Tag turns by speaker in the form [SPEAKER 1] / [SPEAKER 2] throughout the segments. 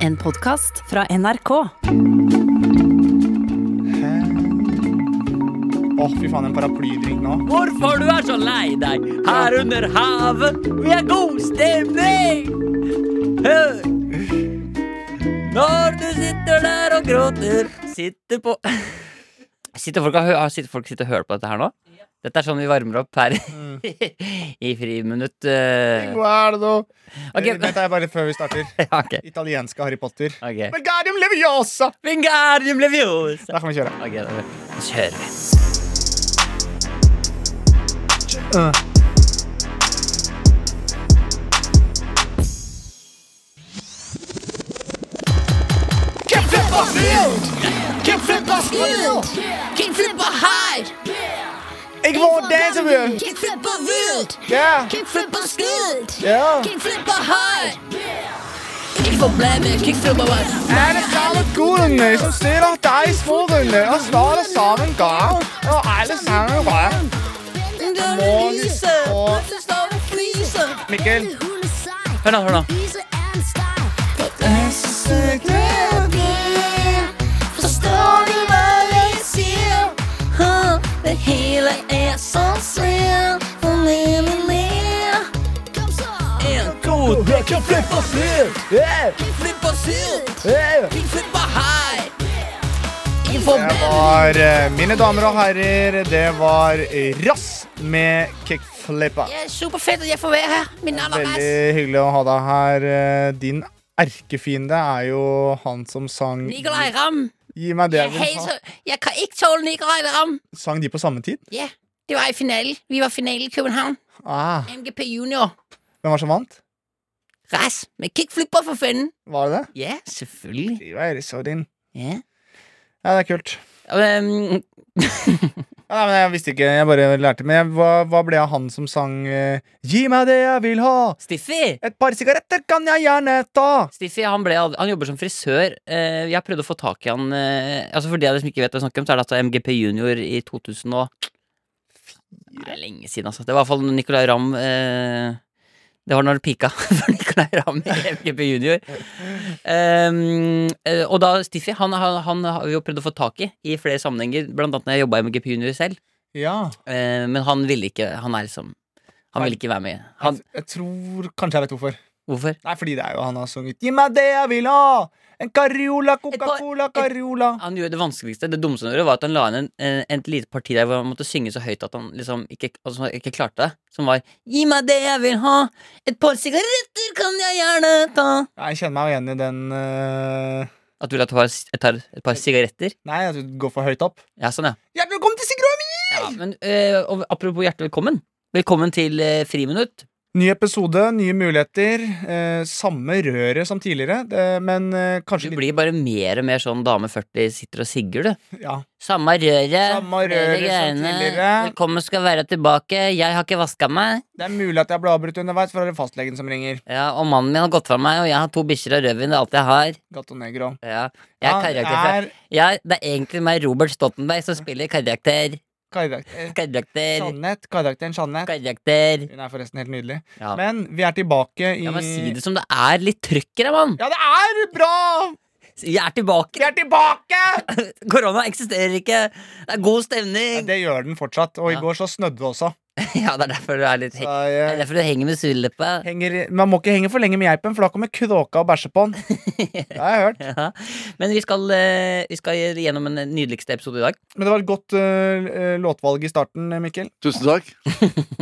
[SPEAKER 1] En podkast fra NRK.
[SPEAKER 2] Åh, fy faen, en paraplydrink nå.
[SPEAKER 3] Hvorfor du er så lei deg her under havet? Vi har god stemning! Hør! Når du sitter der og gråter, sitter på Sitter folk og, hø- sitter folk sitter og hører på dette her nå? Dette er sånn vi varmer opp her i friminutt. eh.
[SPEAKER 2] Guardo.
[SPEAKER 3] Ok.
[SPEAKER 2] Okay. Dette Eh, er bare før vi starter.
[SPEAKER 3] Ja, ok.
[SPEAKER 2] Italienske Harry Potter.
[SPEAKER 3] ok.
[SPEAKER 2] Wingardium Leviosa!
[SPEAKER 3] Wingardium Leviosa.
[SPEAKER 2] Da kan vi kjøre.
[SPEAKER 3] Ok, da kjører vi. Eh.
[SPEAKER 4] Kickflippa her!
[SPEAKER 2] Jeg må danse med
[SPEAKER 4] Kickflippa vilt!
[SPEAKER 2] Ja,
[SPEAKER 4] Kickflippa skilt!
[SPEAKER 2] ja.
[SPEAKER 4] Kickflippa her! Ikke problemer, kickflippa her.
[SPEAKER 2] Er det samme gudene som stiller deg i sporene og slår deg sammen gang? Og alle sammen rør.
[SPEAKER 4] Den
[SPEAKER 2] Morgen
[SPEAKER 4] lyse,
[SPEAKER 2] og-
[SPEAKER 4] plutselig står det fryser.
[SPEAKER 2] Mikkel.
[SPEAKER 3] Hør nå, hør nå.
[SPEAKER 4] Forstår du hva jeg sier? Huh, Det hele er så svært. Og le, le, le. Kom så.
[SPEAKER 3] En, to, tre, kickflip og silt.
[SPEAKER 4] Kickflip og sylt.
[SPEAKER 2] Det
[SPEAKER 4] Kickflip og hei. Ikke problem.
[SPEAKER 2] var eh, mine damer og herrer, det var Rass med Kickflippa.
[SPEAKER 4] Det er superfett at jeg får være her. Min aller best.
[SPEAKER 2] Veldig hyggelig å ha deg her. Eh, Din erkefiende er jo han som sang
[SPEAKER 4] Nikolai Ramm.
[SPEAKER 2] Gi meg det
[SPEAKER 4] Jeg,
[SPEAKER 2] jeg vil ha.
[SPEAKER 4] hater- jeg kan ikke tåle Nikolai Ramm.
[SPEAKER 2] Sang de på samme tid?
[SPEAKER 4] Ja, det var i finalen. Vi var i finalen i København.
[SPEAKER 2] Ah,
[SPEAKER 4] MGP Junior.
[SPEAKER 2] hvem var det som vant?
[SPEAKER 4] Ras med kickflipper for fanden.
[SPEAKER 2] Var det det?
[SPEAKER 3] Ja, selvfølgelig.
[SPEAKER 2] Det var så din.
[SPEAKER 3] Ja.
[SPEAKER 2] Ja, det er kult.
[SPEAKER 3] Um,
[SPEAKER 2] Ja, men jeg visste ikke, jeg bare lærte. Men jeg, hva, hva ble av han som sang eh, Gi meg det jeg vil ha,
[SPEAKER 3] Stiffy!
[SPEAKER 2] et par sigaretter kan jeg gjerne ta.
[SPEAKER 3] Stiffy han, ble, aldri- han jobber som frisør. Eh, jeg prøvde å få tak i han eh, Altså For de av dere som ikke vet hva jeg snakker om, så er det altså MGP Junior i 2000 og Det er lenge siden, altså. Det var i hvert fall Nicolay Ramm eh, Det var når det pika for Nicolay Ramm i MGP Junior. Um, eh, og da Stiffy han, han, han har vi jo prøvd å få tak i i flere sammenhenger, blant annet når jeg jobba i MGP Junior selv.
[SPEAKER 2] Ja.
[SPEAKER 3] Eh, men han ville ikke Han er liksom Han ville ikke være med. Han,
[SPEAKER 2] Jeg, jeg tror kanskje jeg vet hvorfor.
[SPEAKER 3] hvorfor?
[SPEAKER 2] Nei, fordi det er jo han har sunget Gi meg det jeg vil ha, en Cariola,
[SPEAKER 3] par-
[SPEAKER 2] Coca-Cola,
[SPEAKER 3] et-
[SPEAKER 2] Cariola.
[SPEAKER 3] Han gjorde det vanskeligste. Det dummeste han gjorde, var at han la inn en, en, et lite parti der hvor han måtte synge så høyt at han liksom ikke, altså, han ikke klarte det. Som var 'Gi meg det jeg vil ha, et par sigaretter kan jeg gjerne ta'.
[SPEAKER 2] Ja, Jeg kjenner meg jo igjen i den eh,
[SPEAKER 3] At du vil at jeg tar s- jeg tar et par sigaretter?
[SPEAKER 2] Nei, at du går for høyt opp.
[SPEAKER 3] Ja, sånn, ja.
[SPEAKER 2] Hjertelig velkommen til Sigrid og Emil!
[SPEAKER 3] ja men eh, og apropos hjertelig velkommen. Velkommen til eh, Friminutt.
[SPEAKER 2] Ny episode, nye muligheter. Eh, samme røret som tidligere, det, men eh,
[SPEAKER 3] Du
[SPEAKER 2] kanskje litt
[SPEAKER 3] blir bare mer og mer sånn dame 40 sitter og sigger, du.
[SPEAKER 2] ja.
[SPEAKER 3] Samme røret.
[SPEAKER 2] Samme
[SPEAKER 3] hele
[SPEAKER 2] røret som
[SPEAKER 3] greiene.
[SPEAKER 2] tidligere.
[SPEAKER 3] Velkommen skal være tilbake. Jeg har ikke vaska meg.
[SPEAKER 2] Det er mulig at jeg ble avbrutt underveis, for det er fastlegen som ringer.
[SPEAKER 3] Ja, og mannen min har gått fra meg, og jeg har to bikkjer og rødvin. Det er alt jeg har.
[SPEAKER 2] Gato Negro.
[SPEAKER 3] Ja, jeg er karakter.
[SPEAKER 2] Han er
[SPEAKER 3] Jeg, det er egentlig meg, Robert Stoltenberg, som spiller karakter.
[SPEAKER 2] karakter.
[SPEAKER 3] Karakter.
[SPEAKER 2] Jeanette, karakteren Jeanette.
[SPEAKER 3] Karakter.
[SPEAKER 2] Hun er forresten helt nydelig.
[SPEAKER 3] Ja.
[SPEAKER 2] Men vi er tilbake i
[SPEAKER 3] Ja, men Si det som det er. Litt trøkk i deg, mann!
[SPEAKER 2] Ja, det er bra!
[SPEAKER 3] Jeg er tilbake!
[SPEAKER 2] Vi er tilbake!
[SPEAKER 3] Korona eksisterer ikke! Det er god stemning!
[SPEAKER 2] Det gjør den fortsatt. Og i
[SPEAKER 3] Ja.
[SPEAKER 2] går så snødde det også.
[SPEAKER 3] Ja, det er derfor du er litt
[SPEAKER 2] Så
[SPEAKER 3] hek- Det er
[SPEAKER 2] jeg
[SPEAKER 3] derfor du henger med surleppa.
[SPEAKER 2] henger, man må ikke henge for lenge med geipen, for da kommer kråka og bæsjer på den. Det har jeg hørt.
[SPEAKER 3] Ja. Men vi skal, eh, vi skal gjennom en nydeligste episode i dag.
[SPEAKER 2] Men det var et godt eh, låtvalg i starten, Mikkel.
[SPEAKER 5] Tusen takk.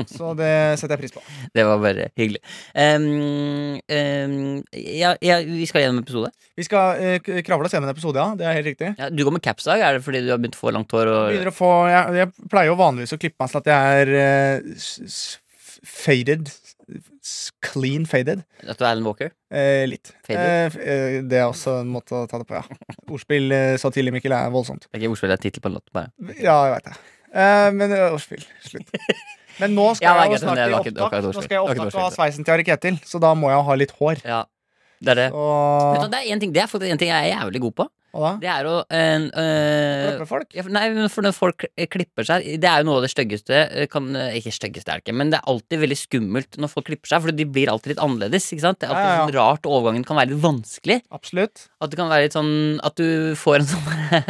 [SPEAKER 2] Så det setter jeg pris på.
[SPEAKER 3] Det var bare hyggelig. Ehm, ehm, ja, ja, vi skal gjennom episode.
[SPEAKER 2] Vi skal eh, k- kravle oss gjennom en episode, ja. Det er helt riktig.
[SPEAKER 3] Ja, du går med caps i dag. Er det fordi du har begynt å få langt hår? Og...
[SPEAKER 2] Begynner å få, jeg, jeg pleier jo vanligvis å klippe meg sånn at jeg er eh, s- s- f- faded. S- Clean faded.
[SPEAKER 3] At du er Alan Walker?
[SPEAKER 2] Eh, litt.
[SPEAKER 3] Faded?
[SPEAKER 2] Eh, f- eh, det er også en måte å ta det på, ja. Ordspill eh, så tidlig, Mikkel, er voldsomt.
[SPEAKER 3] Det er ikke ordspill, det er tittel på en låt. Bare.
[SPEAKER 2] Ja, jeg veit det. Eh, men eh, ordspill. Slutt. Men nå skal
[SPEAKER 3] Ja, det er
[SPEAKER 2] jeg jo
[SPEAKER 3] greit, men
[SPEAKER 2] snart
[SPEAKER 3] det
[SPEAKER 2] i
[SPEAKER 3] var ikke- det var
[SPEAKER 2] opptak
[SPEAKER 3] ikke et
[SPEAKER 2] Nå skal
[SPEAKER 3] ordspill. Det
[SPEAKER 2] jeg i
[SPEAKER 3] var ikke et
[SPEAKER 2] opptak og ha
[SPEAKER 3] ordspill.
[SPEAKER 2] sveisen til Ari Ketil, så da må jeg ha litt hår.
[SPEAKER 3] Ja, det er det.
[SPEAKER 2] Og
[SPEAKER 3] Vet du, hva, det, er en ting, det er faktisk en ting jeg er jævlig god på.
[SPEAKER 2] Hva da?
[SPEAKER 3] Det er å eh, eh,
[SPEAKER 2] Klapper folk?
[SPEAKER 3] Ja, for- Nei, men for når folk eh, klipper seg Det er jo noe av det styggeste eh, kan, eh, Ikke styggeste er det ikke, men det er alltid veldig skummelt når folk klipper seg, for de blir alltid litt annerledes. Ikke sant? Det er alltid
[SPEAKER 2] Ja, ja, ja.
[SPEAKER 3] sånn rart, og overgangen kan være litt vanskelig.
[SPEAKER 2] Absolutt.
[SPEAKER 3] At det kan være litt sånn At du får en sånn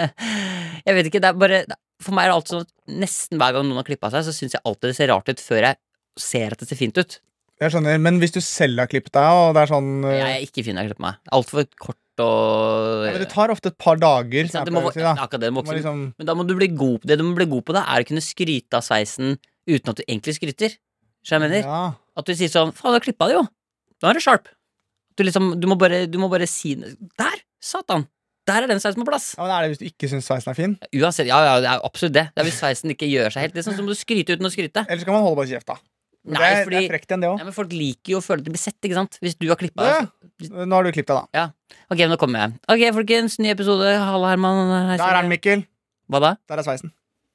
[SPEAKER 3] Jeg vet ikke, det er bare For meg er det alltid sånn at nesten hver gang noen har klippa seg, så syns jeg alltid det ser rart ut før jeg ser at det ser fint ut.
[SPEAKER 2] Jeg skjønner, Men hvis du selv har klippet deg, og det er sånn eh,
[SPEAKER 3] Jeg er ikke fin når jeg klipper meg. Altfor kort og
[SPEAKER 2] ja, men Det tar ofte et par dager.
[SPEAKER 3] Ikke sant?
[SPEAKER 2] er
[SPEAKER 3] Det må,
[SPEAKER 2] på
[SPEAKER 3] det
[SPEAKER 2] si, da.
[SPEAKER 3] er akkurat det, det må
[SPEAKER 2] Du må
[SPEAKER 3] vokse
[SPEAKER 2] liksom,
[SPEAKER 3] Men da må du bli god på det du må bli god på, da er å kunne skryte av sveisen uten at du egentlig skryter. Skjønner jeg mener?
[SPEAKER 2] ja.
[SPEAKER 3] At du sier sånn Faen, du har klippa det jo! Nå er du sharp. Du, liksom, du, må bare, du må bare si Der! Satan! Der er den sveisen på plass!
[SPEAKER 2] Ja, men Er det hvis du ikke syns sveisen er fin?
[SPEAKER 3] Uansett, ja, ja, det er jo absolutt det. Det er Hvis sveisen ikke gjør seg helt, liksom, så må du skryte uten å skryte.
[SPEAKER 2] Eller så kan man holde bare kjeft, da. Men
[SPEAKER 3] Nei,
[SPEAKER 2] det, er,
[SPEAKER 3] fordi
[SPEAKER 2] det er frekt igjen, det òg.
[SPEAKER 3] nei, men Folk liker jo å føle at de blir sett, ikke sant? Hvis du har klippa deg.
[SPEAKER 2] Nå har du klippet deg, da.
[SPEAKER 3] Ok, nå kommer jeg. Ok, folkens, ny episode. Halla, Herman. Hei,
[SPEAKER 2] Der er den,
[SPEAKER 3] Silje.
[SPEAKER 2] Mikkel.
[SPEAKER 3] Hva da?
[SPEAKER 2] Der er sveisen.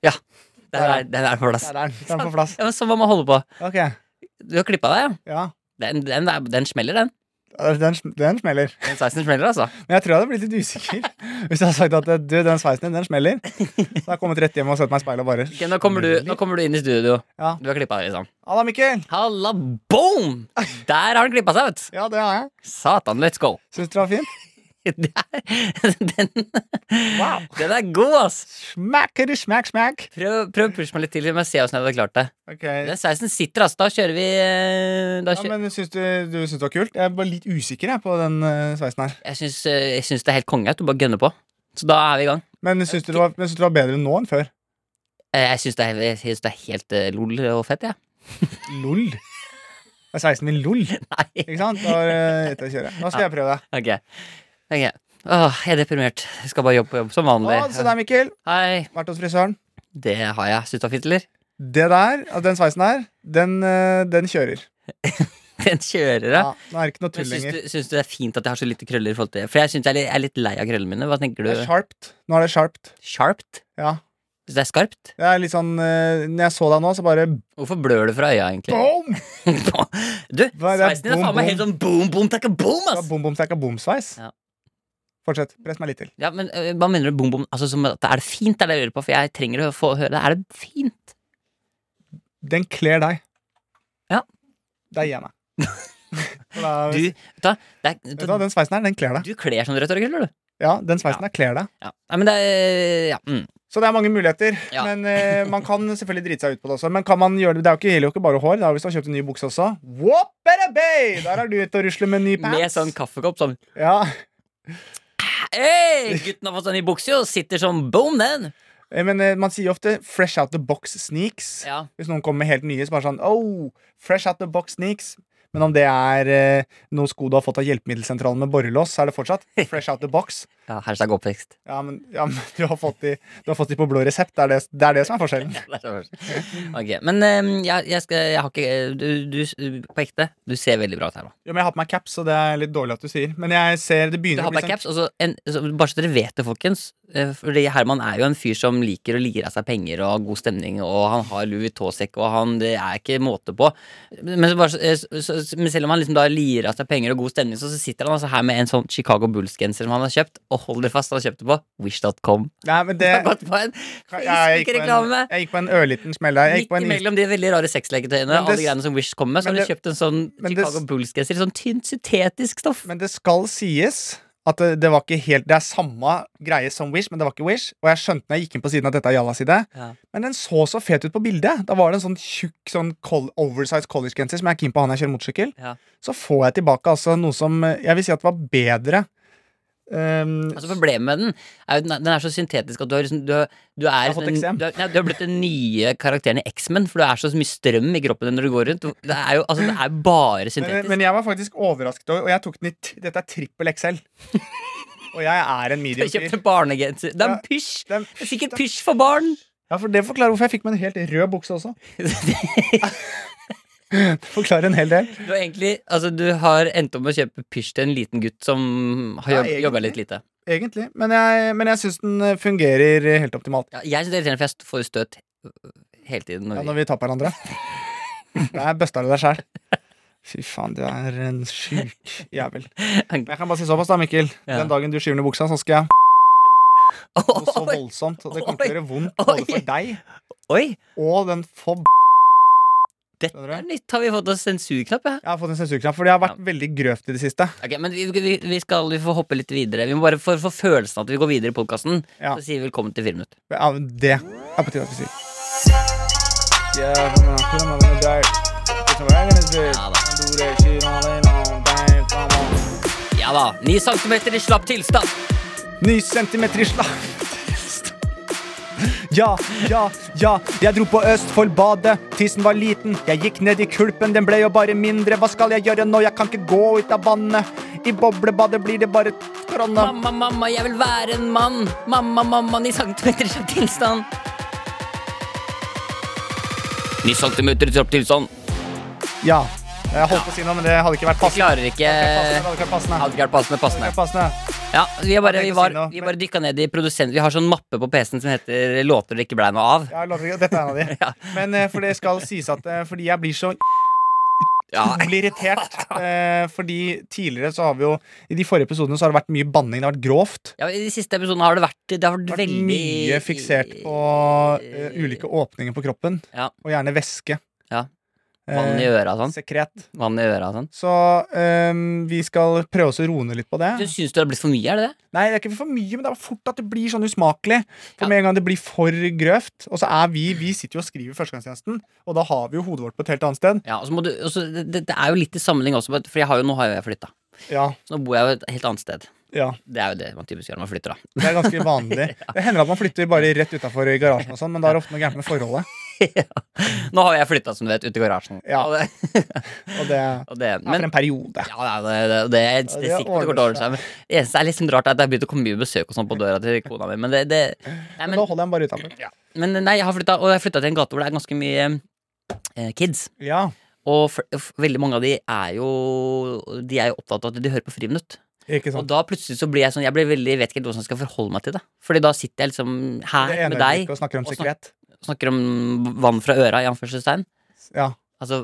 [SPEAKER 3] Der er, den er på plass.
[SPEAKER 2] Der er den. Den er på plass.
[SPEAKER 3] Ja, men så må man holde på.
[SPEAKER 2] Ok,
[SPEAKER 3] Du har klippa deg, ja?
[SPEAKER 2] ja.
[SPEAKER 3] Den, den, er- den smeller, den.
[SPEAKER 2] Den, sm- den smeller.
[SPEAKER 3] Den sveisen smeller, altså.
[SPEAKER 2] Men jeg tror jeg hadde blitt litt usikker hvis jeg hadde sagt at eh, du, den sveisen din, den smeller. Så hadde jeg kommet rett hjem og sett meg i speilet og bare
[SPEAKER 3] Ok, nå, kommer du, nå kommer du inn i studio.
[SPEAKER 2] Ja.
[SPEAKER 3] Du har klippa deg, liksom.
[SPEAKER 2] Halla, Mikkel!
[SPEAKER 3] Halla, boom! Der har han klippa seg, vet du.
[SPEAKER 2] Ja, det har jeg.
[SPEAKER 3] Satan, let's go.
[SPEAKER 2] Syns du det var fint?
[SPEAKER 3] Det er- Den,
[SPEAKER 2] Wow.
[SPEAKER 3] den er god, ass.
[SPEAKER 2] Smacker, smack, smack.
[SPEAKER 3] Prøv, prøv å pushe meg litt til, så må jeg se åssen jeg hadde klart det.
[SPEAKER 2] Ok.
[SPEAKER 3] Den sveisen sitter, ass. Da kjører vi eh, da
[SPEAKER 2] Ja,
[SPEAKER 3] kjø
[SPEAKER 2] men syns du, du syns det var kult? Jeg er bare litt usikker jeg, på den eh, sveisen her.
[SPEAKER 3] Jeg syns, eh, jeg syns det er helt konge at du bare gønner på. Så da er vi i gang.
[SPEAKER 2] Men syns du, det var- men syns du det var bedre nå enn før?
[SPEAKER 3] Eh, Jeg syns det, er- jeg syns det er helt eh, lol og fett, jeg.
[SPEAKER 2] LOL. Det er sveisen min LOL.
[SPEAKER 3] Nei.
[SPEAKER 2] Ikke sant? Da var det rett å kjøre. Nå skal jeg prøve det.
[SPEAKER 3] Ok. ok Åh, jeg er deprimert. Jeg skal bare jobbe på jobb som vanlig.
[SPEAKER 2] Å, se der, Mikkel.
[SPEAKER 3] Hei.
[SPEAKER 2] Vært hos frisøren.
[SPEAKER 3] Det har jeg. Syns du det var fint, eller?
[SPEAKER 2] Det der, altså, den sveisen der, den, eh, den kjører.
[SPEAKER 3] Den kjører, ja.
[SPEAKER 2] Ja, nå er det ikke noe
[SPEAKER 3] Men
[SPEAKER 2] tull
[SPEAKER 3] syns
[SPEAKER 2] lenger.
[SPEAKER 3] du, syns du det er fint at jeg har så lite krøller? i forhold til det? For jeg syns jeg er litt- jeg er litt lei av krøllene mine. Hva tenker
[SPEAKER 2] Det er
[SPEAKER 3] du?
[SPEAKER 2] sharpt. Nå er det sharpt.
[SPEAKER 3] Sharpt?
[SPEAKER 2] Ja.
[SPEAKER 3] Syns det er skarpt?
[SPEAKER 2] Det er litt sånn eh, Når jeg så deg nå, så bare
[SPEAKER 3] Hvorfor blør du fra øya, egentlig?
[SPEAKER 2] boom!
[SPEAKER 3] du,
[SPEAKER 2] Hva er det?
[SPEAKER 3] sveisen din er
[SPEAKER 2] Boom,
[SPEAKER 3] faen meg helt sånn boom, boom, takka boom,
[SPEAKER 2] Det var
[SPEAKER 3] ass!
[SPEAKER 2] bom, bom, stakka bom-sveis.
[SPEAKER 3] Ja.
[SPEAKER 2] Fortsett. Press meg litt til.
[SPEAKER 3] Ja, men øh, hva mener du boom, boom? Altså, som at det er det fint, er det jeg lurer på, for jeg trenger å få høre det. Er det fint?
[SPEAKER 2] Den kler deg.
[SPEAKER 3] Ja.
[SPEAKER 2] Det gir jeg meg. Så da-
[SPEAKER 3] Du, vet du, hva? det
[SPEAKER 2] Vet du hva,
[SPEAKER 3] er,
[SPEAKER 2] den sveisen her, den kler deg.
[SPEAKER 3] du kler sånn rødt og krøller, du.
[SPEAKER 2] Ja, den sveisen her kler deg.
[SPEAKER 3] Ja. Nei, men det er Ja. Mm.
[SPEAKER 2] Så det er mange muligheter.
[SPEAKER 3] Ja.
[SPEAKER 2] Men eh, man kan selvfølgelig drite seg ut på det også. Men kan man gjøre det? Det er jo ikke, gjelder jo ikke bare hår. Det er jo hvis du har kjøpt en ny bukse også. Whoop-a-da-bay! Der er du ute og rusler med ny pants.
[SPEAKER 3] Med sånn kaffekopp sånn
[SPEAKER 2] Ja.
[SPEAKER 3] Hei, gutten har fått sånn i bukse, og sitter sånn boom, den.
[SPEAKER 2] Eh, Men eh, man sier jo ofte 'fresh out the box sneaks'.
[SPEAKER 3] Ja.
[SPEAKER 2] Hvis noen kommer med helt nye, så bare sånn Oh, fresh out the box sneaks Men om det er eh, noen sko du har fått av hjelpemiddelsentralen med borrelås, så er det fortsatt fresh out the box.
[SPEAKER 3] ja hashtag oppvekst.
[SPEAKER 2] Ja, men, ja, men du, har fått de, du har fått de på blå resept. Det er det, det er det som er forskjellen.
[SPEAKER 3] Ok, Men eh, jeg, jeg, skal, jeg har ikke eh, du, du, På ekte, du ser veldig bra ut her nå.
[SPEAKER 2] Jo, men Jeg har på meg caps, så det er litt dårlig at du sier. Men jeg ser det
[SPEAKER 3] Du
[SPEAKER 2] begynner
[SPEAKER 3] har
[SPEAKER 2] sånn-
[SPEAKER 3] på deg caps, og så en, så, Bare så dere vet det, folkens. eh, Fordi Herman er jo en fyr som liker å lire av seg penger og ha god stemning, og han har Louis Vuitton-sekk, og han, det er ikke måte på. Men, så bare, så- eh, så, så, men selv om han liksom da lirer av seg penger og god stemning, så, så sitter han altså her med en sånn Chicago Bulls-genser som han har kjøpt, og hold dere fast, han har kjøpt det på wish.com.
[SPEAKER 2] Nei, men det,
[SPEAKER 3] Han har gått på en
[SPEAKER 2] jeg, jeg, gikk på en,
[SPEAKER 3] Facebook-reklame.
[SPEAKER 2] jeg gikk på en ørliten smell der. Jeg
[SPEAKER 3] Midt
[SPEAKER 2] gikk på en
[SPEAKER 3] imellom de veldig rare sexleketøyene
[SPEAKER 2] Men
[SPEAKER 3] og alle
[SPEAKER 2] det-
[SPEAKER 3] greiene som Wish kom med, så har
[SPEAKER 2] men
[SPEAKER 3] de
[SPEAKER 2] det-
[SPEAKER 3] kjøpt en sånn
[SPEAKER 2] men det-
[SPEAKER 3] Chicago Bulls-genser i sånn tynt syntetisk stoff.
[SPEAKER 2] Men det skal sies at det, det var ikke helt Det er samme greie som Wish, men det var ikke Wish. Og jeg skjønte når jeg gikk inn på siden at dette er Jallas side.
[SPEAKER 3] Ja.
[SPEAKER 2] Men den så så fet ut på bildet. Da var det en sånn tjukk sånn col oversized collegegenser som jeg er keen på han jeg kjører motorsykkel.
[SPEAKER 3] Ja.
[SPEAKER 2] Så får jeg tilbake altså noe som eh, jeg vil si at var bedre. Um,
[SPEAKER 3] Altså Problemet med den er jo at den er- den er så syntetisk at du, har liksom, du, har- du, er,
[SPEAKER 2] har fått
[SPEAKER 3] liksom en-
[SPEAKER 2] eksem.
[SPEAKER 3] du, er, nei, du har blitt den nye karakteren i X-Men, for du er så mye strøm i kroppen din når du går rundt. Det er jo altså, det er bare
[SPEAKER 2] men,
[SPEAKER 3] syntetisk.
[SPEAKER 2] men jeg var faktisk overrasket over Og jeg tok den i t Dette er trippel XL. og jeg
[SPEAKER 3] du
[SPEAKER 2] er en
[SPEAKER 3] har
[SPEAKER 2] medium
[SPEAKER 3] kjøpt
[SPEAKER 2] fyr.
[SPEAKER 3] en barnegenser. Det er en
[SPEAKER 2] Ja,
[SPEAKER 3] pysj!
[SPEAKER 2] det er en
[SPEAKER 3] Det er sikkert pysj for barn!
[SPEAKER 2] Ja, for det forklarer hvorfor jeg fikk meg en helt rød bukse også. Det forklarer en hel del.
[SPEAKER 3] Du har egentlig altså, du har endt opp med å kjøpe pysj til en liten gutt som har
[SPEAKER 2] Ja,
[SPEAKER 3] jobba
[SPEAKER 2] egentlig.
[SPEAKER 3] litt lite.
[SPEAKER 2] Egentlig. Men jeg, men jeg syns den eh, fungerer eh, helt optimalt.
[SPEAKER 3] Ja, jeg syns det er irriterende, for jeg får jo støt hele tiden.
[SPEAKER 2] Ja,
[SPEAKER 3] Når vi,
[SPEAKER 2] når vi tar på hverandre. Der busta du deg sjæl. Fy faen, du er en sjuk jævel. Men Jeg kan bare si såpass, da, Mikkel.
[SPEAKER 3] Ja.
[SPEAKER 2] Den dagen du skyver ned buksa, så skal jeg noe så voldsomt. Og det kommer til å gjøre vondt både for deg
[SPEAKER 3] Oi!
[SPEAKER 2] og den fob...
[SPEAKER 3] Dette
[SPEAKER 2] Skjønner du?
[SPEAKER 3] er nytt. Har vi fått oss sensurknapp? Ja?
[SPEAKER 2] Jeg har fått en sensurknapp, for det har vært veldig grøvt i det siste.
[SPEAKER 3] Ok, men vi, vi, vi skal vi får hoppe litt videre. Vi må bare få få følelsen av at vi går videre i podkasten.
[SPEAKER 2] Ja.
[SPEAKER 3] Så sier vi velkommen til Friminutt.
[SPEAKER 2] Ja, men det er på tide at vi sier. Yeah, man, come on, man, die. It's a wagon, it's big.
[SPEAKER 3] Ja da.
[SPEAKER 2] Do that shit all day long, bang, come on.
[SPEAKER 3] Ja da. Ni centimeter i slapp tilstand.
[SPEAKER 2] Ny centimeter i slag. Ja, ja, ja. Jeg dro på Østfoldbadet. Tissen var liten. Jeg gikk ned i kulpen, den ble jo bare mindre. Hva skal jeg gjøre nå? Jeg kan ikke gå ut av vannet. I boblebadet blir det bare korona.
[SPEAKER 3] Mamma, mamma, jeg vil være en mann. Mamma, mamma, ni centimeter i slapp tilstand. Ni centimeter i slapp tilstand.
[SPEAKER 2] Ja. Jeg holdt på å si noe, men det hadde ikke vært
[SPEAKER 3] Vi
[SPEAKER 2] passende.
[SPEAKER 3] klarer ikke
[SPEAKER 2] Det hadde ikke vært passende.
[SPEAKER 3] Hadde ikke vært passende.
[SPEAKER 2] Det hadde
[SPEAKER 3] passende.
[SPEAKER 2] ikke vært passende.
[SPEAKER 3] Ja, vi, er bare, vi,
[SPEAKER 2] Jeg tenkte å si
[SPEAKER 3] var,
[SPEAKER 2] noe,
[SPEAKER 3] vi
[SPEAKER 2] men-
[SPEAKER 3] bare dykka ned i produsent... Vi har sånn mappe på PC-en som heter 'Låter det ikke blei noe av'.
[SPEAKER 2] Ja, låter ikke. Dette er en av de.
[SPEAKER 3] Ja.
[SPEAKER 2] Men eh, for det skal sies at eh, fordi jeg blir så
[SPEAKER 3] Ja.
[SPEAKER 2] utrolig irritert. Eh, fordi tidligere så har vi jo I de forrige episodene så har det vært mye banning. Det har vært grovt.
[SPEAKER 3] Ja, I de siste episodene har det vært Det har vært,
[SPEAKER 2] Det har vært
[SPEAKER 3] veldig
[SPEAKER 2] mye fiksert på eh, ulike åpninger på kroppen.
[SPEAKER 3] Ja.
[SPEAKER 2] Og gjerne væske.
[SPEAKER 3] Ja. Vann i
[SPEAKER 2] Eh,
[SPEAKER 3] øra og sånn.
[SPEAKER 2] Sekret.
[SPEAKER 3] Vann i øra og sånn.
[SPEAKER 2] Så eh, vi skal prøve oss å roe ned litt på det.
[SPEAKER 3] Du syns du det har blitt for mye, er det det?
[SPEAKER 2] Nei, det er ikke for mye, men det er fort at det blir sånn usmakelig. For
[SPEAKER 3] Ja.
[SPEAKER 2] med en gang det blir for grøvt Og så er vi Vi sitter jo og skriver førstegangstjenesten, og da har vi jo hodet vårt på et helt annet sted.
[SPEAKER 3] Ja, og så må du og så- det, det er jo litt i sammenheng også, for jeg har jo, nå har jo jeg flytta.
[SPEAKER 2] Ja,
[SPEAKER 3] Så nå bor jeg jo et helt annet sted.
[SPEAKER 2] ja
[SPEAKER 3] Det er jo det man typisk gjør når man flytter, da.
[SPEAKER 2] Det er ganske vanlig. Det hender at man flytter bare rett utafor garasjen, og sånn, men da er det ofte noe gærent med forholdet.
[SPEAKER 3] Nå har jeg flytta, som du vet, ut i garasjen.
[SPEAKER 2] Ja.
[SPEAKER 3] Og det,
[SPEAKER 2] Og det er
[SPEAKER 3] og det,
[SPEAKER 2] for
[SPEAKER 3] men
[SPEAKER 2] en periode.
[SPEAKER 3] ja, ja, det, det, det, er- det,
[SPEAKER 2] det
[SPEAKER 3] er sikkert det går til å ordne
[SPEAKER 2] ordner
[SPEAKER 3] seg. Men det eneste er liksom rart, er at det har begynt å komme mye besøk og sånn på døra til kona mi. Men det, det nei,
[SPEAKER 2] Men
[SPEAKER 3] men,
[SPEAKER 2] da holder jeg den bare utafor.
[SPEAKER 3] men nei, jeg har flytta, og jeg har flytta til en gate hvor det er ganske mye eh, kids.
[SPEAKER 2] Ja.
[SPEAKER 3] Og f f veldig mange av de er jo De er jo opptatt av at de hører på Friminutt.
[SPEAKER 2] Ikke
[SPEAKER 3] Og
[SPEAKER 2] sant.
[SPEAKER 3] da plutselig så blir jeg sånn Jeg blir veldig, jeg vet ikke helt hvordan jeg skal forholde meg til det. Fordi da sitter jeg liksom her
[SPEAKER 2] Det ene
[SPEAKER 3] med deg
[SPEAKER 2] øyeblikket og snakker om
[SPEAKER 3] og
[SPEAKER 2] sikkerhet.
[SPEAKER 3] og snakker om vann fra øra, i anførselstegn.
[SPEAKER 2] Ja.
[SPEAKER 3] Altså,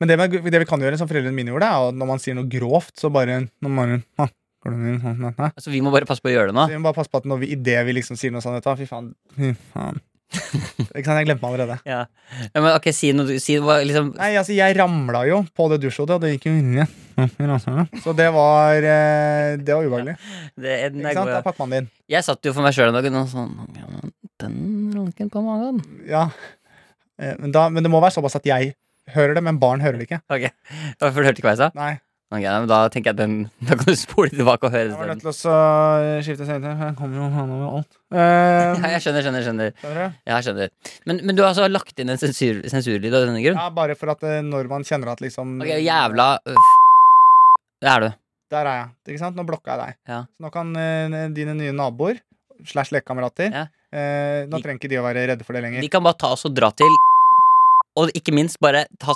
[SPEAKER 2] Men det, med, det vi kan gjøre, som foreldrene mine gjorde, er at når man sier noe grovt, så bare når man, ha, går det ned, ha, ha, ha.
[SPEAKER 3] altså, vi må bare passe på å gjøre det nå.
[SPEAKER 2] Så vi må bare passe på at når vi, i det vi liksom sier noe sånt, vet du, fy faen. Fy faen. Ikke sant, Jeg glemte meg allerede.
[SPEAKER 3] Ja. Ja, men ok, si noe, si hva liksom
[SPEAKER 2] Nei, altså, jeg ramla jo på det dusjhodet, og det gikk jo inn igjen. Så det var eh, Det var ubehagelig.
[SPEAKER 3] det, er- den er
[SPEAKER 2] Ikke sant?
[SPEAKER 3] god,
[SPEAKER 2] Det
[SPEAKER 3] ja.
[SPEAKER 2] er pakkemannen din.
[SPEAKER 3] Jeg satt jo for meg sjøl en dag og sånn ja, men Den runken på magen.
[SPEAKER 2] Ja. Eh, Men, da, men det må være såpass at jeg hører det, men barn hører det ikke.
[SPEAKER 3] Ok, For du hørte ikke hva jeg sa?
[SPEAKER 2] Nei.
[SPEAKER 3] Ok, nei, men Da tenker jeg at den Da kan du spole tilbake og høre
[SPEAKER 2] Jeg var nødt
[SPEAKER 3] den.
[SPEAKER 2] til å så eh, skifte sendetid, for jeg kommer jo faen over alt. Eh,
[SPEAKER 3] Ja, jeg skjønner, skjønner, skjønner.
[SPEAKER 2] skjønner du?
[SPEAKER 3] Ja, jeg skjønner. Men, men du har altså lagt inn en sensur, sensurlyd av denne grunn?
[SPEAKER 2] Ja, bare for at eh, når man kjenner at liksom
[SPEAKER 3] Ok, jævla øh, f... Det er du.
[SPEAKER 2] Der er jeg. Ikke sant? Nå blokka jeg deg.
[SPEAKER 3] Ja.
[SPEAKER 2] Så nå kan eh, dine nye naboer slash lekekamerater
[SPEAKER 3] Ja.
[SPEAKER 2] eh, Nå
[SPEAKER 3] De-
[SPEAKER 2] trenger ikke de å være redde for det lenger.
[SPEAKER 3] De kan bare ta oss og dra til Og ikke minst bare ta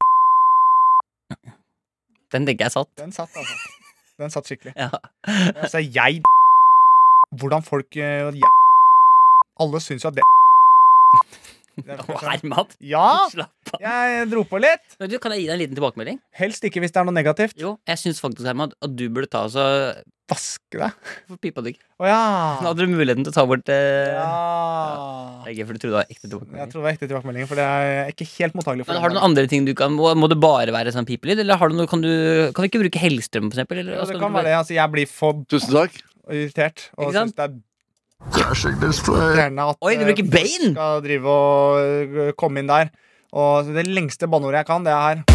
[SPEAKER 3] Den tenker jeg er satt.
[SPEAKER 2] Den satt, altså. Den satt skikkelig.
[SPEAKER 3] Ja.
[SPEAKER 2] Altså, jeg Hvordan folk eh, jeg, Alle syns jo at det
[SPEAKER 3] Å, Herman,
[SPEAKER 2] Ja!
[SPEAKER 3] slapp av.
[SPEAKER 2] Jeg dro på litt.
[SPEAKER 3] Men du, Kan jeg gi deg en liten tilbakemelding?
[SPEAKER 2] Helst ikke hvis det er noe negativt.
[SPEAKER 3] Jo, Jeg syns faktisk Herman, at du burde ta oss og
[SPEAKER 2] Vaske deg.
[SPEAKER 3] Hvorfor pipa du ikke?
[SPEAKER 2] Å
[SPEAKER 3] Nå
[SPEAKER 2] ja.
[SPEAKER 3] hadde du muligheten til å ta bort eh,
[SPEAKER 2] ja.
[SPEAKER 3] det er gøy, For du trodde det var ekte
[SPEAKER 2] Jeg
[SPEAKER 3] tilbakemelding.
[SPEAKER 2] tror det var ekte tilbakemelding, for det er ikke helt mottagelig for
[SPEAKER 3] Men Har du
[SPEAKER 2] det.
[SPEAKER 3] noen andre ting du kan Må, må det bare være sånn pipelyd? Eller har du noe, kan, du, kan vi ikke bruke Hellstrøm, for eksempel? Eller,
[SPEAKER 2] Ja,
[SPEAKER 3] altså,
[SPEAKER 2] det
[SPEAKER 3] kan
[SPEAKER 2] kan
[SPEAKER 3] du
[SPEAKER 2] være det. Altså, jeg blir for
[SPEAKER 5] Tusen takk.
[SPEAKER 2] irritert. Og
[SPEAKER 3] Ikke sant?
[SPEAKER 2] syns det er
[SPEAKER 5] Crashing Destroyer.
[SPEAKER 2] irriterende at
[SPEAKER 3] Oi, du
[SPEAKER 2] eh,
[SPEAKER 3] bruker
[SPEAKER 2] folk
[SPEAKER 3] Bane!
[SPEAKER 2] skal drive og eh, komme inn der. Og det lengste banneordet jeg kan, det er her.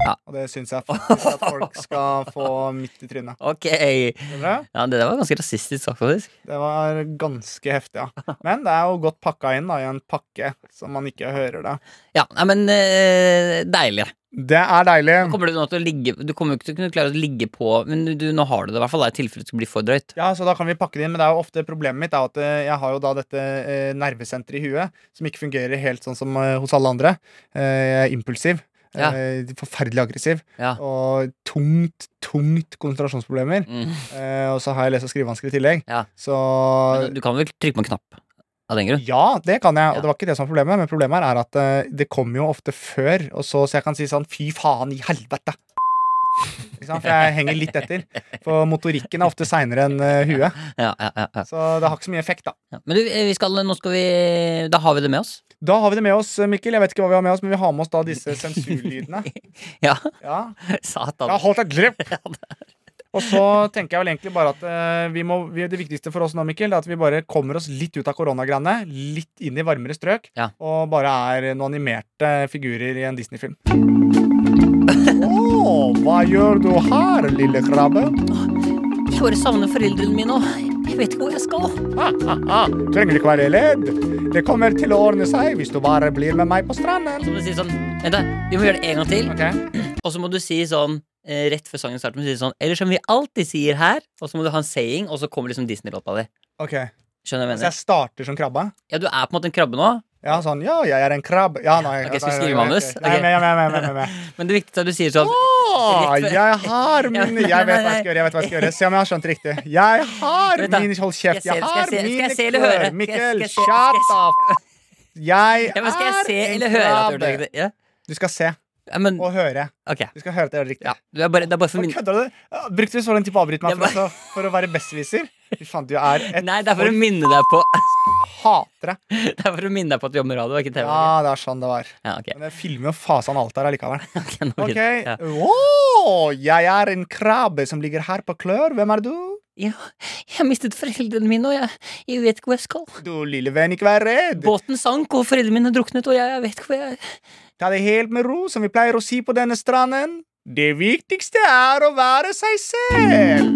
[SPEAKER 3] Ja.
[SPEAKER 2] Og det syns jeg faktisk at folk skal få midt i trynet.
[SPEAKER 3] Ok.
[SPEAKER 2] Skjønner du?
[SPEAKER 3] Ja, det der var ganske rasistisk sagt, faktisk.
[SPEAKER 2] Det var ganske heftig, ja. Men det er jo godt pakka inn da, i en pakke, så man ikke hører det.
[SPEAKER 3] Ja, nei, men eh, deilig.
[SPEAKER 2] Det er deilig.
[SPEAKER 3] Kommer du nå til å ligge Du kommer jo ikke til å kunne klare å ligge på Men du, nå har du det i hvert fall, da, i tilfelle det skulle bli for drøyt.
[SPEAKER 2] Ja, så da kan vi pakke det inn, men det er jo ofte problemet mitt er at eh, jeg har jo da dette eh, nervesenteret i huet som ikke fungerer helt sånn som eh, hos alle andre. Eh, jeg er impulsiv.
[SPEAKER 3] Ja.
[SPEAKER 2] eh, Forferdelig aggressiv.
[SPEAKER 3] Ja.
[SPEAKER 2] Og tungt, tungt konsentrasjonsproblemer.
[SPEAKER 3] Mm.
[SPEAKER 2] Eh, og så har jeg lese- og skrivevansker i tillegg.
[SPEAKER 3] Ja.
[SPEAKER 2] Så
[SPEAKER 3] Men du kan vel trykke på en knapp av den grunn?
[SPEAKER 2] ja, det kan jeg, og
[SPEAKER 3] Ja.
[SPEAKER 2] det var ikke det som var problemet. Men problemet her er at eh, det kommer jo ofte før, og så, så jeg kan si sånn fy faen i helvete. Ikke sant? for jeg henger litt etter. For motorikken er ofte seinere enn eh, huet.
[SPEAKER 3] Ja, ja, ja, ja.
[SPEAKER 2] Så det har ikke så mye effekt, da.
[SPEAKER 3] Ja. Men du, eh, vi skal, nå skal vi Da har vi det med oss.
[SPEAKER 2] Da har vi det med oss, Mikkel. Jeg vet ikke hva vi har med oss, men vi har med oss da disse sensurlydene.
[SPEAKER 3] Ja,
[SPEAKER 2] Ja. Jeg
[SPEAKER 3] satan.
[SPEAKER 2] har holdt et grep! Og så tenker jeg vel egentlig bare at eh, vi må, vi, det viktigste for oss nå, Mikkel, er at vi bare kommer oss litt ut av koronagreiene, litt inn i varmere strøk,
[SPEAKER 3] Ja.
[SPEAKER 2] og bare er noen animerte figurer i en Disney-film. Åh, hva gjør du her, lille krabbe?
[SPEAKER 3] Jeg bare savner foreldrene mine, og jeg vet ikke hvor jeg skal.
[SPEAKER 2] Ah, trenger ikke være redd. Det kommer til å ordne seg hvis du bare blir med meg på stranden.
[SPEAKER 3] Så må du si sånn Vent, da. Vi må gjøre det en gang til.
[SPEAKER 2] Ok,
[SPEAKER 3] Og så må du si sånn eh, rett før sangen starter, må du si sånn Eller som vi alltid sier her, og så må du ha en saying, og så kommer liksom Disney-låta di.
[SPEAKER 2] ok.
[SPEAKER 3] Skjønner du hva jeg
[SPEAKER 2] Så jeg
[SPEAKER 3] mener?
[SPEAKER 2] starter som krabba?
[SPEAKER 3] Ja, du er på en måte en krabbe nå,
[SPEAKER 2] Ja, sånn, ja, jeg er en krabb. Ja, nei.
[SPEAKER 3] Ok, skal vi skrive manus?
[SPEAKER 2] Nei,
[SPEAKER 3] Ok.
[SPEAKER 2] men, men, men, men, men, men.
[SPEAKER 3] men det viktigste er at du sier sånn
[SPEAKER 2] Ah,
[SPEAKER 3] Rett før-
[SPEAKER 2] jeg har
[SPEAKER 3] Ja,
[SPEAKER 2] min
[SPEAKER 3] nei,
[SPEAKER 2] Jeg vet hva
[SPEAKER 3] nei,
[SPEAKER 2] jeg skal gjøre. jeg vet hva jeg skal gjøre Se om jeg har skjønt det riktig. Jeg har
[SPEAKER 3] Vent da.
[SPEAKER 2] min Hold
[SPEAKER 3] Skal jeg
[SPEAKER 2] kjeft.
[SPEAKER 3] se- skal
[SPEAKER 2] Jeg
[SPEAKER 3] jeg
[SPEAKER 2] har
[SPEAKER 3] se- skal
[SPEAKER 2] mine
[SPEAKER 3] jeg se eller høre? Skal
[SPEAKER 2] klør.
[SPEAKER 3] jeg- skal
[SPEAKER 2] Mikkel,
[SPEAKER 3] jeg se- skal jeg
[SPEAKER 2] shut
[SPEAKER 3] se-
[SPEAKER 2] up! Jeg
[SPEAKER 3] ja, men Skal jeg se
[SPEAKER 2] er
[SPEAKER 3] eller
[SPEAKER 2] en
[SPEAKER 3] høre at du gjør det
[SPEAKER 2] krabbe.
[SPEAKER 3] riktig? Ja?
[SPEAKER 2] Du skal se
[SPEAKER 3] Ja, men
[SPEAKER 2] og høre.
[SPEAKER 3] ok.
[SPEAKER 2] Du skal høre at jeg gjør det riktig.
[SPEAKER 3] Ja, du er bare, det er bare for
[SPEAKER 2] Hva
[SPEAKER 3] min
[SPEAKER 2] Kødder du? Brukte du så lang tid på å avbryte meg
[SPEAKER 3] Det
[SPEAKER 2] for, å- for å være besserwisser? Fy faen, du er et
[SPEAKER 3] Nei, det er for å minne deg på
[SPEAKER 2] hatere.
[SPEAKER 3] Det er for å minne deg på at vi jobber med radio, og ikke TV.
[SPEAKER 2] Ja, det er sånn det var.
[SPEAKER 3] Ja, ok.
[SPEAKER 2] Men jeg filmer jo fasan alt der allikevel.
[SPEAKER 3] Ok, nå
[SPEAKER 2] Ok,
[SPEAKER 3] gidder- ja.
[SPEAKER 2] Åh, Jeg er en krabbe som ligger her på klør. Hvem er du?
[SPEAKER 3] Ja, jeg har mistet foreldrene mine, og jeg, jeg vet ikke hvor jeg skal.
[SPEAKER 2] Du lille venn, ikke vær redd.
[SPEAKER 3] Båten sank, og foreldrene mine druknet, og jeg, jeg vet ikke hvor jeg
[SPEAKER 2] Ta det helt med ro, som vi pleier å si på denne stranden. Det viktigste er å være seg selv.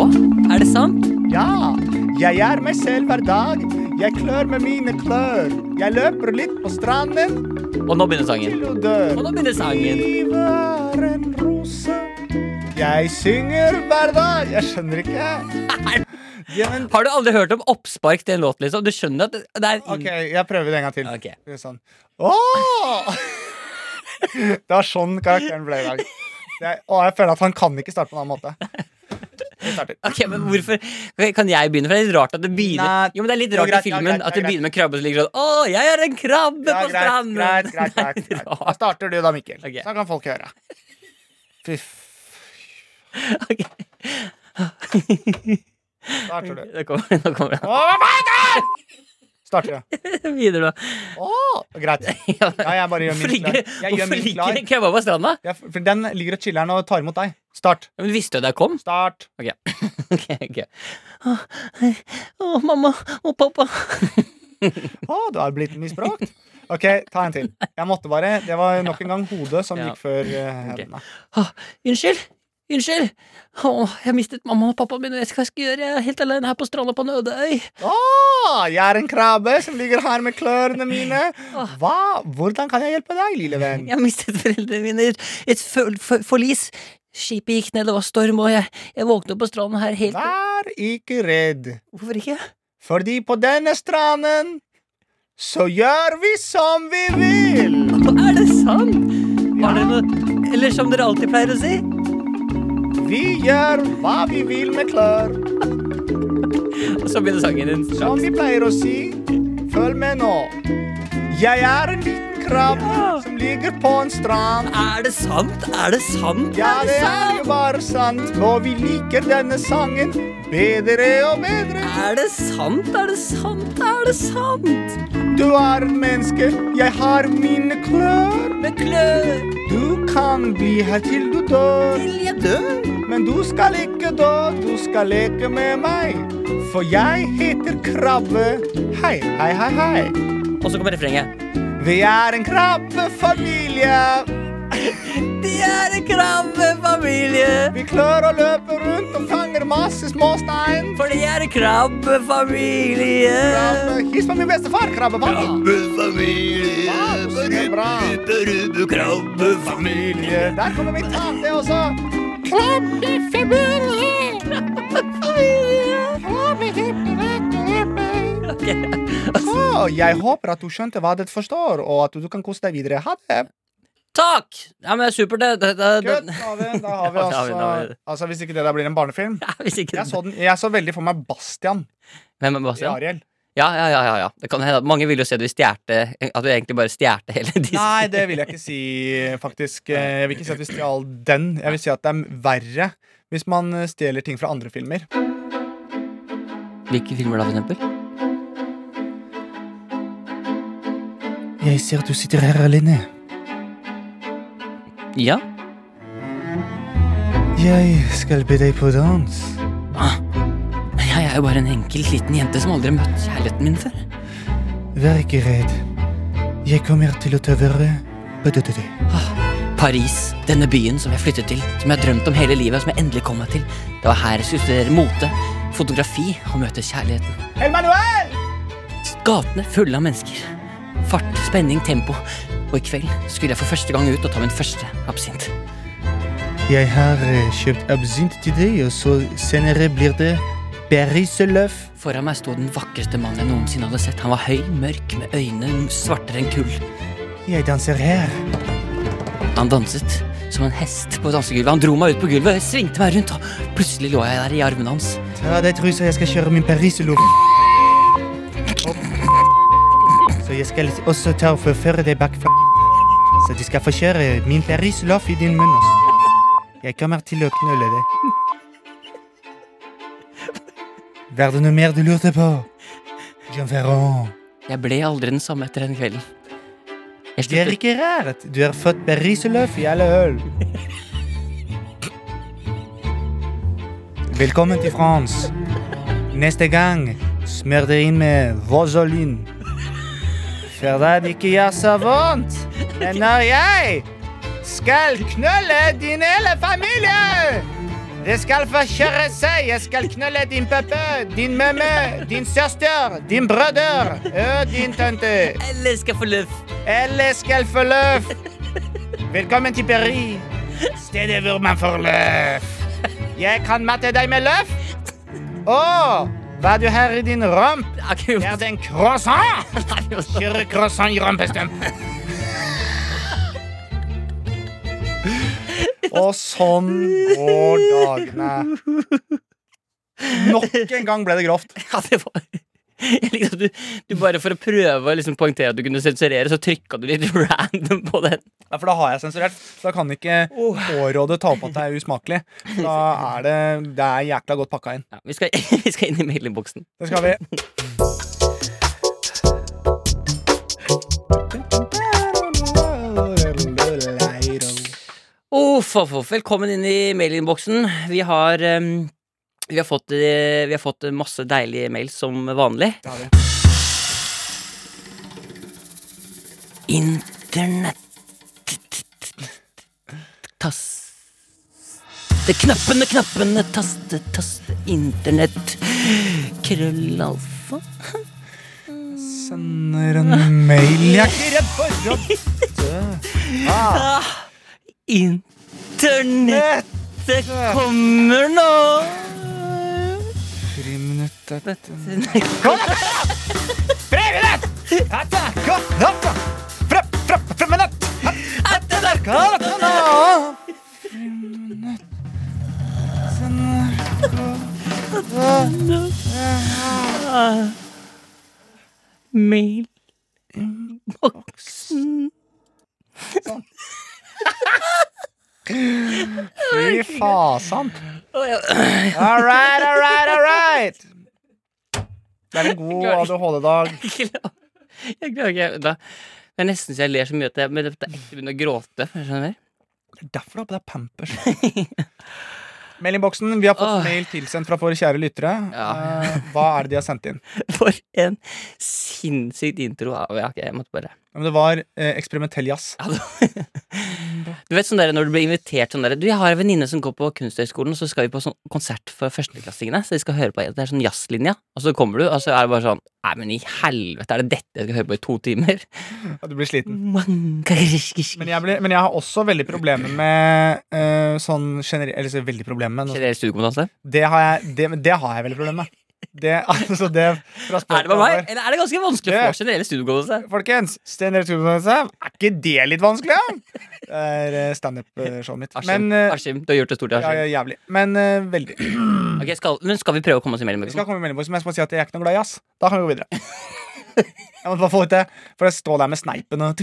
[SPEAKER 3] Å, er det sant?
[SPEAKER 2] Ja, jeg er meg selv hver dag. Jeg klør med mine klør. Jeg løper litt på stranden
[SPEAKER 3] Og nå begynner sangen.
[SPEAKER 2] til du
[SPEAKER 3] Og
[SPEAKER 2] dør.
[SPEAKER 3] nå begynner sangen.
[SPEAKER 2] Livet er en rose. Jeg synger hver dag. Jeg skjønner ikke. Ja, men,
[SPEAKER 3] Har du aldri hørt om oppspark til en låt, liksom? Du skjønner at det det er
[SPEAKER 2] ok, jeg prøver det en gang til.
[SPEAKER 3] Mm. Ok.
[SPEAKER 2] Det er sånn. Åh! Det var sånn karakteren ble i dag. Jeg, å, jeg føler at han kan ikke starte på en annen måte. Vi starter.
[SPEAKER 3] Ok, men hvorfor Ok, Kan jeg begynne? For det er litt rart at det begynner
[SPEAKER 2] Nei,
[SPEAKER 3] Jo, men det er litt
[SPEAKER 2] det er
[SPEAKER 3] rart i
[SPEAKER 2] greit, ja,
[SPEAKER 3] filmen at
[SPEAKER 2] greit, ja,
[SPEAKER 3] det begynner med krabbe som ligger sånn Å, jeg er en krabbe
[SPEAKER 2] Ja,
[SPEAKER 3] på
[SPEAKER 2] greit,
[SPEAKER 3] stranden!
[SPEAKER 2] greit, greit,
[SPEAKER 3] Nei,
[SPEAKER 2] greit,
[SPEAKER 3] det er
[SPEAKER 2] greit. Da
[SPEAKER 3] rart.
[SPEAKER 2] starter du da, Mikkel.
[SPEAKER 3] Ok.
[SPEAKER 2] Så kan folk høre. Fy f-
[SPEAKER 3] Ok.
[SPEAKER 2] Starter du.
[SPEAKER 3] Nå kommer, nå kommer
[SPEAKER 2] Å, hva faen er det? Starter du.
[SPEAKER 3] jeg videre, da.
[SPEAKER 2] Å, greit.
[SPEAKER 3] Ja,
[SPEAKER 2] Ja, jeg bare gjør
[SPEAKER 3] Hvorfor
[SPEAKER 2] min
[SPEAKER 3] ligger,
[SPEAKER 2] klar. Jeg gjør
[SPEAKER 3] hvorfor
[SPEAKER 2] min
[SPEAKER 3] ligger
[SPEAKER 2] klar.
[SPEAKER 3] en krabbe på stranda?
[SPEAKER 2] Jeg, for den ligger og chiller'n og tar imot deg. Start.
[SPEAKER 3] Ja, men visste du at jeg kom?
[SPEAKER 2] Start.
[SPEAKER 3] Ok. ok, ok Å, hei. Å, mamma og pappa.
[SPEAKER 2] Å, du har blitt misbrukt. OK, ta en til. Jeg måtte bare. Det var nok en gang hodet som
[SPEAKER 3] Ja.
[SPEAKER 2] gikk før eh, hendene.
[SPEAKER 3] Å, unnskyld. Unnskyld. Å, jeg har mistet mamma og pappaen min, og jeg vet ikke hva jeg skal gjøre. Jeg er helt alene her på stranda på en øde øy.
[SPEAKER 2] Åh, jeg er en krabbe som ligger her med klørne mine. Hva? Hvordan kan jeg hjelpe deg, lille venn?
[SPEAKER 3] Jeg har mistet foreldrene mine i et- et for- for- forlis. Skipet gikk ned, det var storm, og jeg, jeg våknet opp på stranden her helt
[SPEAKER 2] Vær ikke redd,
[SPEAKER 3] Hvorfor ikke?
[SPEAKER 2] fordi på denne stranden så gjør vi som vi vil.
[SPEAKER 3] Å, Er det sant? Har dere noe Eller som dere alltid pleier å si?
[SPEAKER 2] Vi gjør hva vi vil med klør,
[SPEAKER 3] Og så begynner sangen din.
[SPEAKER 2] som vi pleier å si. Følg med nå. Jeg er en liten krabbe
[SPEAKER 3] Ja.
[SPEAKER 2] som ligger på en strand.
[SPEAKER 3] Er det sant? Er det sant?
[SPEAKER 2] Ja, det
[SPEAKER 3] sant?
[SPEAKER 2] er jo bare sant, og vi liker denne sangen bedre og bedre.
[SPEAKER 3] Er det sant? Er det sant? Er det sant?
[SPEAKER 2] Du er et menneske, jeg har mine klør.
[SPEAKER 3] Med klør
[SPEAKER 2] Du kan bli her til du dør.
[SPEAKER 3] til jeg dør.
[SPEAKER 2] Men du skal ikke dø, du skal leke med meg. For jeg heter krabbe. Hei, hei, hei, hei.
[SPEAKER 3] Og så kommer refrenget.
[SPEAKER 2] Vi er en krabbefamilie.
[SPEAKER 3] De er en krabbefamilie,
[SPEAKER 2] Vi klør og løper rundt og fanger masse småstein.
[SPEAKER 3] for de er en krabbefamilie.
[SPEAKER 2] Krabbe, Hils på min bestefar, krabbefar.
[SPEAKER 5] Krabbefamilie,
[SPEAKER 2] Wow, det er bra.
[SPEAKER 5] berubbe krabbefamilie.
[SPEAKER 2] Eh, Der kommer min tante også. Så, jeg håper at du skjønte hva det forstår, og at du kan kose deg videre. Ha det.
[SPEAKER 3] Takk! Ja, men supert, det. det, det,
[SPEAKER 2] Good,
[SPEAKER 3] det.
[SPEAKER 2] da har vi, da har
[SPEAKER 3] Ja, da har vi- da har vi
[SPEAKER 2] vi altså,
[SPEAKER 3] det.
[SPEAKER 2] altså Hvis ikke det der blir en barnefilm.
[SPEAKER 3] Ja, hvis ikke
[SPEAKER 2] Jeg så, den, jeg så veldig for meg Bastian
[SPEAKER 3] Hvem er
[SPEAKER 2] i
[SPEAKER 3] Bastian?
[SPEAKER 2] Ariel.
[SPEAKER 3] Ja, ja, ja, ja, ja. Det kan hende at Mange vil jo si at vi stjerte At vi egentlig bare stjerte hele Disney.
[SPEAKER 2] Nei, det vil jeg ikke si, faktisk. Eh, Jeg vil ikke si at vi stjal den. Jeg vil si at det er verre hvis man eh, stjeler ting fra andre filmer.
[SPEAKER 3] Hvilke filmer da, for eksempel?
[SPEAKER 2] Jeg ser at du sitter her alene.
[SPEAKER 3] Ja.
[SPEAKER 2] Jeg skal be deg på dans.
[SPEAKER 3] Men Jeg er jo bare en enkel liten jente som aldri har møtt kjærligheten min før.
[SPEAKER 2] Vær ikke redd. Jeg kommer til å ta vare på dette.
[SPEAKER 3] Ah, Paris, denne byen som jeg flyttet til, som jeg har drømt om hele livet, og som jeg endelig kom meg til. Det var her jeg skulle studere mote, fotografi og møte kjærligheten.
[SPEAKER 2] Emmanuel!
[SPEAKER 3] Gatene fulle av mennesker. Fart, spenning, tempo. Og i kveld skulle jeg for første gang ut og ta min første absint.
[SPEAKER 2] Jeg har eh, kjøpt absint til deg, og så senere blir det berryseløff.
[SPEAKER 3] Foran meg sto den vakreste mannen jeg noensinne hadde sett. Han var høy, mørk, med øyne svartere enn kull.
[SPEAKER 2] Jeg danser her.
[SPEAKER 3] Han danset som en hest på dansegulvet. Han dro meg ut på gulvet, svingte meg rundt, og plutselig lå jeg der i armene hans.
[SPEAKER 2] Ta av deg trusa, jeg skal kjøre min pariseloff. Så jeg skal også ta og forføre deg bakfra. Så du skal få kjøre min pariseloff i din munn også. Jeg kommer til å knulle deg. Var det noe mer du lurte på? Jean Ferrand.
[SPEAKER 3] Jeg ble aldri den samme etter den kvelden. Jeg
[SPEAKER 2] Det er
[SPEAKER 3] sluttet,
[SPEAKER 2] ikke rart. Du har fått pariseloff i alle øl. Velkommen til France. Neste gang smør deg inn med Vozolin. For da det ikke gjør så vondt. Men når jeg skal knulle din hele familie Det skal få kjøre seg. Jeg skal knulle din pappa, din mamma, din søster, din brødre og din tante.
[SPEAKER 3] Eller skal jeg få løft.
[SPEAKER 2] Alle skal få løf. Velkommen til Paris, stedet hvor man får løf. Jeg kan matte deg med løf. Å, hva du har i din rump?
[SPEAKER 3] Jeg kan jo-
[SPEAKER 2] Er det en croissant?
[SPEAKER 3] Nei, jo, så-
[SPEAKER 2] Kjøre croissant i rumpestump. Og sånn går dagene. Nok en gang ble det grovt.
[SPEAKER 3] Ja, det var jeg likte at du, du bare For å prøve å liksom poengtere at du kunne sensurere, så trykka du litt random på den.
[SPEAKER 2] Ja, for da har jeg sensurert. Så da kan ikke pårådet ta opp at det er usmakelig. Da er det, det er jækla godt pakka inn.
[SPEAKER 3] Ja, vi, skal, vi skal inn i mailinnboksen.
[SPEAKER 2] Det skal vi.
[SPEAKER 3] Uff, uff, uff. Velkommen inn i mailinnboksen. Vi har em, vi har, fått, eh, vi har fått masse deilige mails som vanlig.
[SPEAKER 2] Det har vi.
[SPEAKER 3] Internett Tas Det knappene, knappene, taste, taste Internett Krøllalfa
[SPEAKER 2] Sender en mail Jeg er ikke redd for å dø. Ah,
[SPEAKER 3] Internett
[SPEAKER 2] nett.
[SPEAKER 3] Det kommer nå
[SPEAKER 2] Friminutt er dette.
[SPEAKER 3] Nei,
[SPEAKER 2] Friminutt! Hatta, gå, hatta. Fra, fra, friminutt. Hatta, der, gå, hatta, nå. Friminutt. Sender, gå, hatta.
[SPEAKER 3] Mail
[SPEAKER 2] Fy fasan.
[SPEAKER 3] Å, ja.
[SPEAKER 2] All right, all right, all right. Det er en god ADHD-dag.
[SPEAKER 3] Jeg klarer ikke da. Det er nesten så jeg ler så mye at jeg, men det er ekte begynner å gråte. Skjønner du?
[SPEAKER 2] Det er derfor du har på deg pampers. Mailinnboksen. Vi har fått
[SPEAKER 3] Åh.
[SPEAKER 2] mail tilsendt fra våre kjære lyttere.
[SPEAKER 3] Ja.
[SPEAKER 2] Eh, hva er det de har sendt inn?
[SPEAKER 3] For en sinnssykt intro. Ja, ok, jeg måtte bare
[SPEAKER 2] Ja, men Det var eh, eksperimentell jazz.
[SPEAKER 3] Ja, da- Du vet sånn der, Når du blir invitert sånn der, Du, Jeg har en venninne som går på Kunsthøgskolen, og så skal vi på sånn konsert for førsteklassingene. Så de skal høre på Det er sånn jazzlinja. Og så kommer du, og så er det bare sånn Nei, men i helvete, er det dette jeg skal høre på i to timer?
[SPEAKER 2] Ja, Du blir sliten. Men
[SPEAKER 3] Men
[SPEAKER 2] jeg, blir, men jeg har også veldig problemer med eh, sånn generelt Eller så veldig problemer med noe.
[SPEAKER 3] Generell studiekompetanse?
[SPEAKER 2] Det har jeg, det, men det har jeg veldig problemer med. Det, altså det fra
[SPEAKER 3] Er det bare meg,
[SPEAKER 2] spørsmålet.
[SPEAKER 3] eller er det ganske vanskelig å få generelle studieutgåelse?
[SPEAKER 2] Folkens, standup er ikke det litt vanskelig? da? Det er eh, standup-showet mitt.
[SPEAKER 3] Askim,
[SPEAKER 2] Men eh,
[SPEAKER 3] Askim, du har gjort det stort.
[SPEAKER 2] ja,
[SPEAKER 3] Askim.
[SPEAKER 2] ja, jævlig. Men eh, veldig.
[SPEAKER 3] Ok, skal, men skal vi prøve å komme oss imellom?
[SPEAKER 2] Vi skal
[SPEAKER 3] Liksom?
[SPEAKER 2] komme mellom oss, men jeg skal si at jeg er ikke noe glad i jazz. Da kan vi gå videre. Jeg måtte bare få ut det, for jeg står der med sneipen og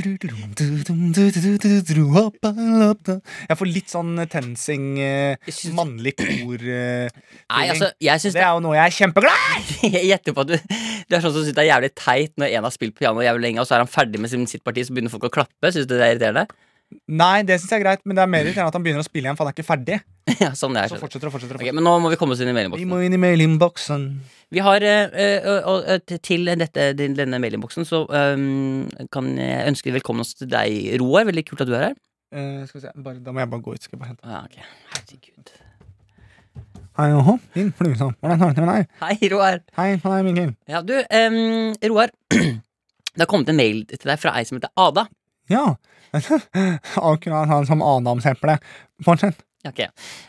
[SPEAKER 2] Jeg får litt sånn tensing, eh,
[SPEAKER 3] Jeg synes-
[SPEAKER 2] mannlig kor eh,
[SPEAKER 3] Nei, altså, jeg syns
[SPEAKER 2] Det er jo noe jeg er kjempeglad i!
[SPEAKER 3] Jeg gjetter på at du, du er sånn som syns det er jævlig teit når en har spilt piano jævlig lenge, og så er han ferdig med sin, sitt parti, så begynner folk å klappe. Syns du det er irriterende?
[SPEAKER 2] Nei, det syns jeg er greit, men det er mer irriterende at han begynner å spille igjen, for han er ikke ferdig.
[SPEAKER 3] ja, sånn det er.
[SPEAKER 2] Så
[SPEAKER 3] skjønner.
[SPEAKER 2] fortsetter og fortsetter. og
[SPEAKER 3] Ok,
[SPEAKER 2] fortsetter.
[SPEAKER 3] men nå må vi komme oss inn i
[SPEAKER 2] Vi
[SPEAKER 3] mailinnboksen.
[SPEAKER 2] må inn i mailinnboksen.
[SPEAKER 3] Vi har eh, eh, og- og Til dette, din- denne mailinnboksen så eh, kan jeg ønske velkommen oss til deg, Roar. Veldig kult at du er her.
[SPEAKER 2] Eh, skal vi se. Bare, da må jeg bare gå ut. Skal jeg bare hente
[SPEAKER 3] Ja, ok. Herregud.
[SPEAKER 2] Hei, åhå. Din fluesam. Hvordan har du det med deg?
[SPEAKER 3] Hei, Roar.
[SPEAKER 2] liksom. Hei, hei, Mikkel.
[SPEAKER 3] Ja, du, eh, Roar. Det har kommet en mail til deg fra ei som heter Ada.
[SPEAKER 2] Ja. Akkurat han som Adamseple. Fortsett.
[SPEAKER 3] Ja, Ok.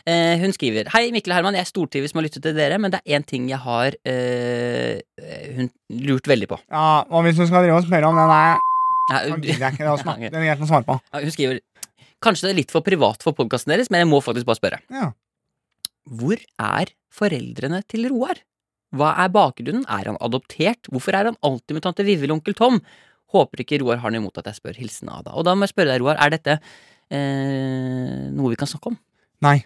[SPEAKER 3] Eh, hun skriver Hei, Mikkel og Herman. Jeg stortrives med å lytte til dere, men det er én ting jeg har eh, eh, hun lurt veldig på.
[SPEAKER 2] Ja, og hvis du skal drive og spørre om den der
[SPEAKER 3] Nei,
[SPEAKER 2] så
[SPEAKER 3] hun,
[SPEAKER 2] gidder jeg ikke det å snakke. Den er greit å svare på.
[SPEAKER 3] ja, hun skriver Kanskje det er litt for privat for podkasten deres, men jeg må faktisk bare spørre.
[SPEAKER 2] Ja.
[SPEAKER 3] Hvor er foreldrene til Roar? Hva er bakgrunnen? Er han adoptert? Hvorfor er han alltid med tante Vivi og onkel Tom? Håper ikke Roar har noe imot at jeg spør. Hilsen Ada. Og da må jeg spørre deg, Roar, er dette eh, noe vi kan snakke om?
[SPEAKER 2] Nei.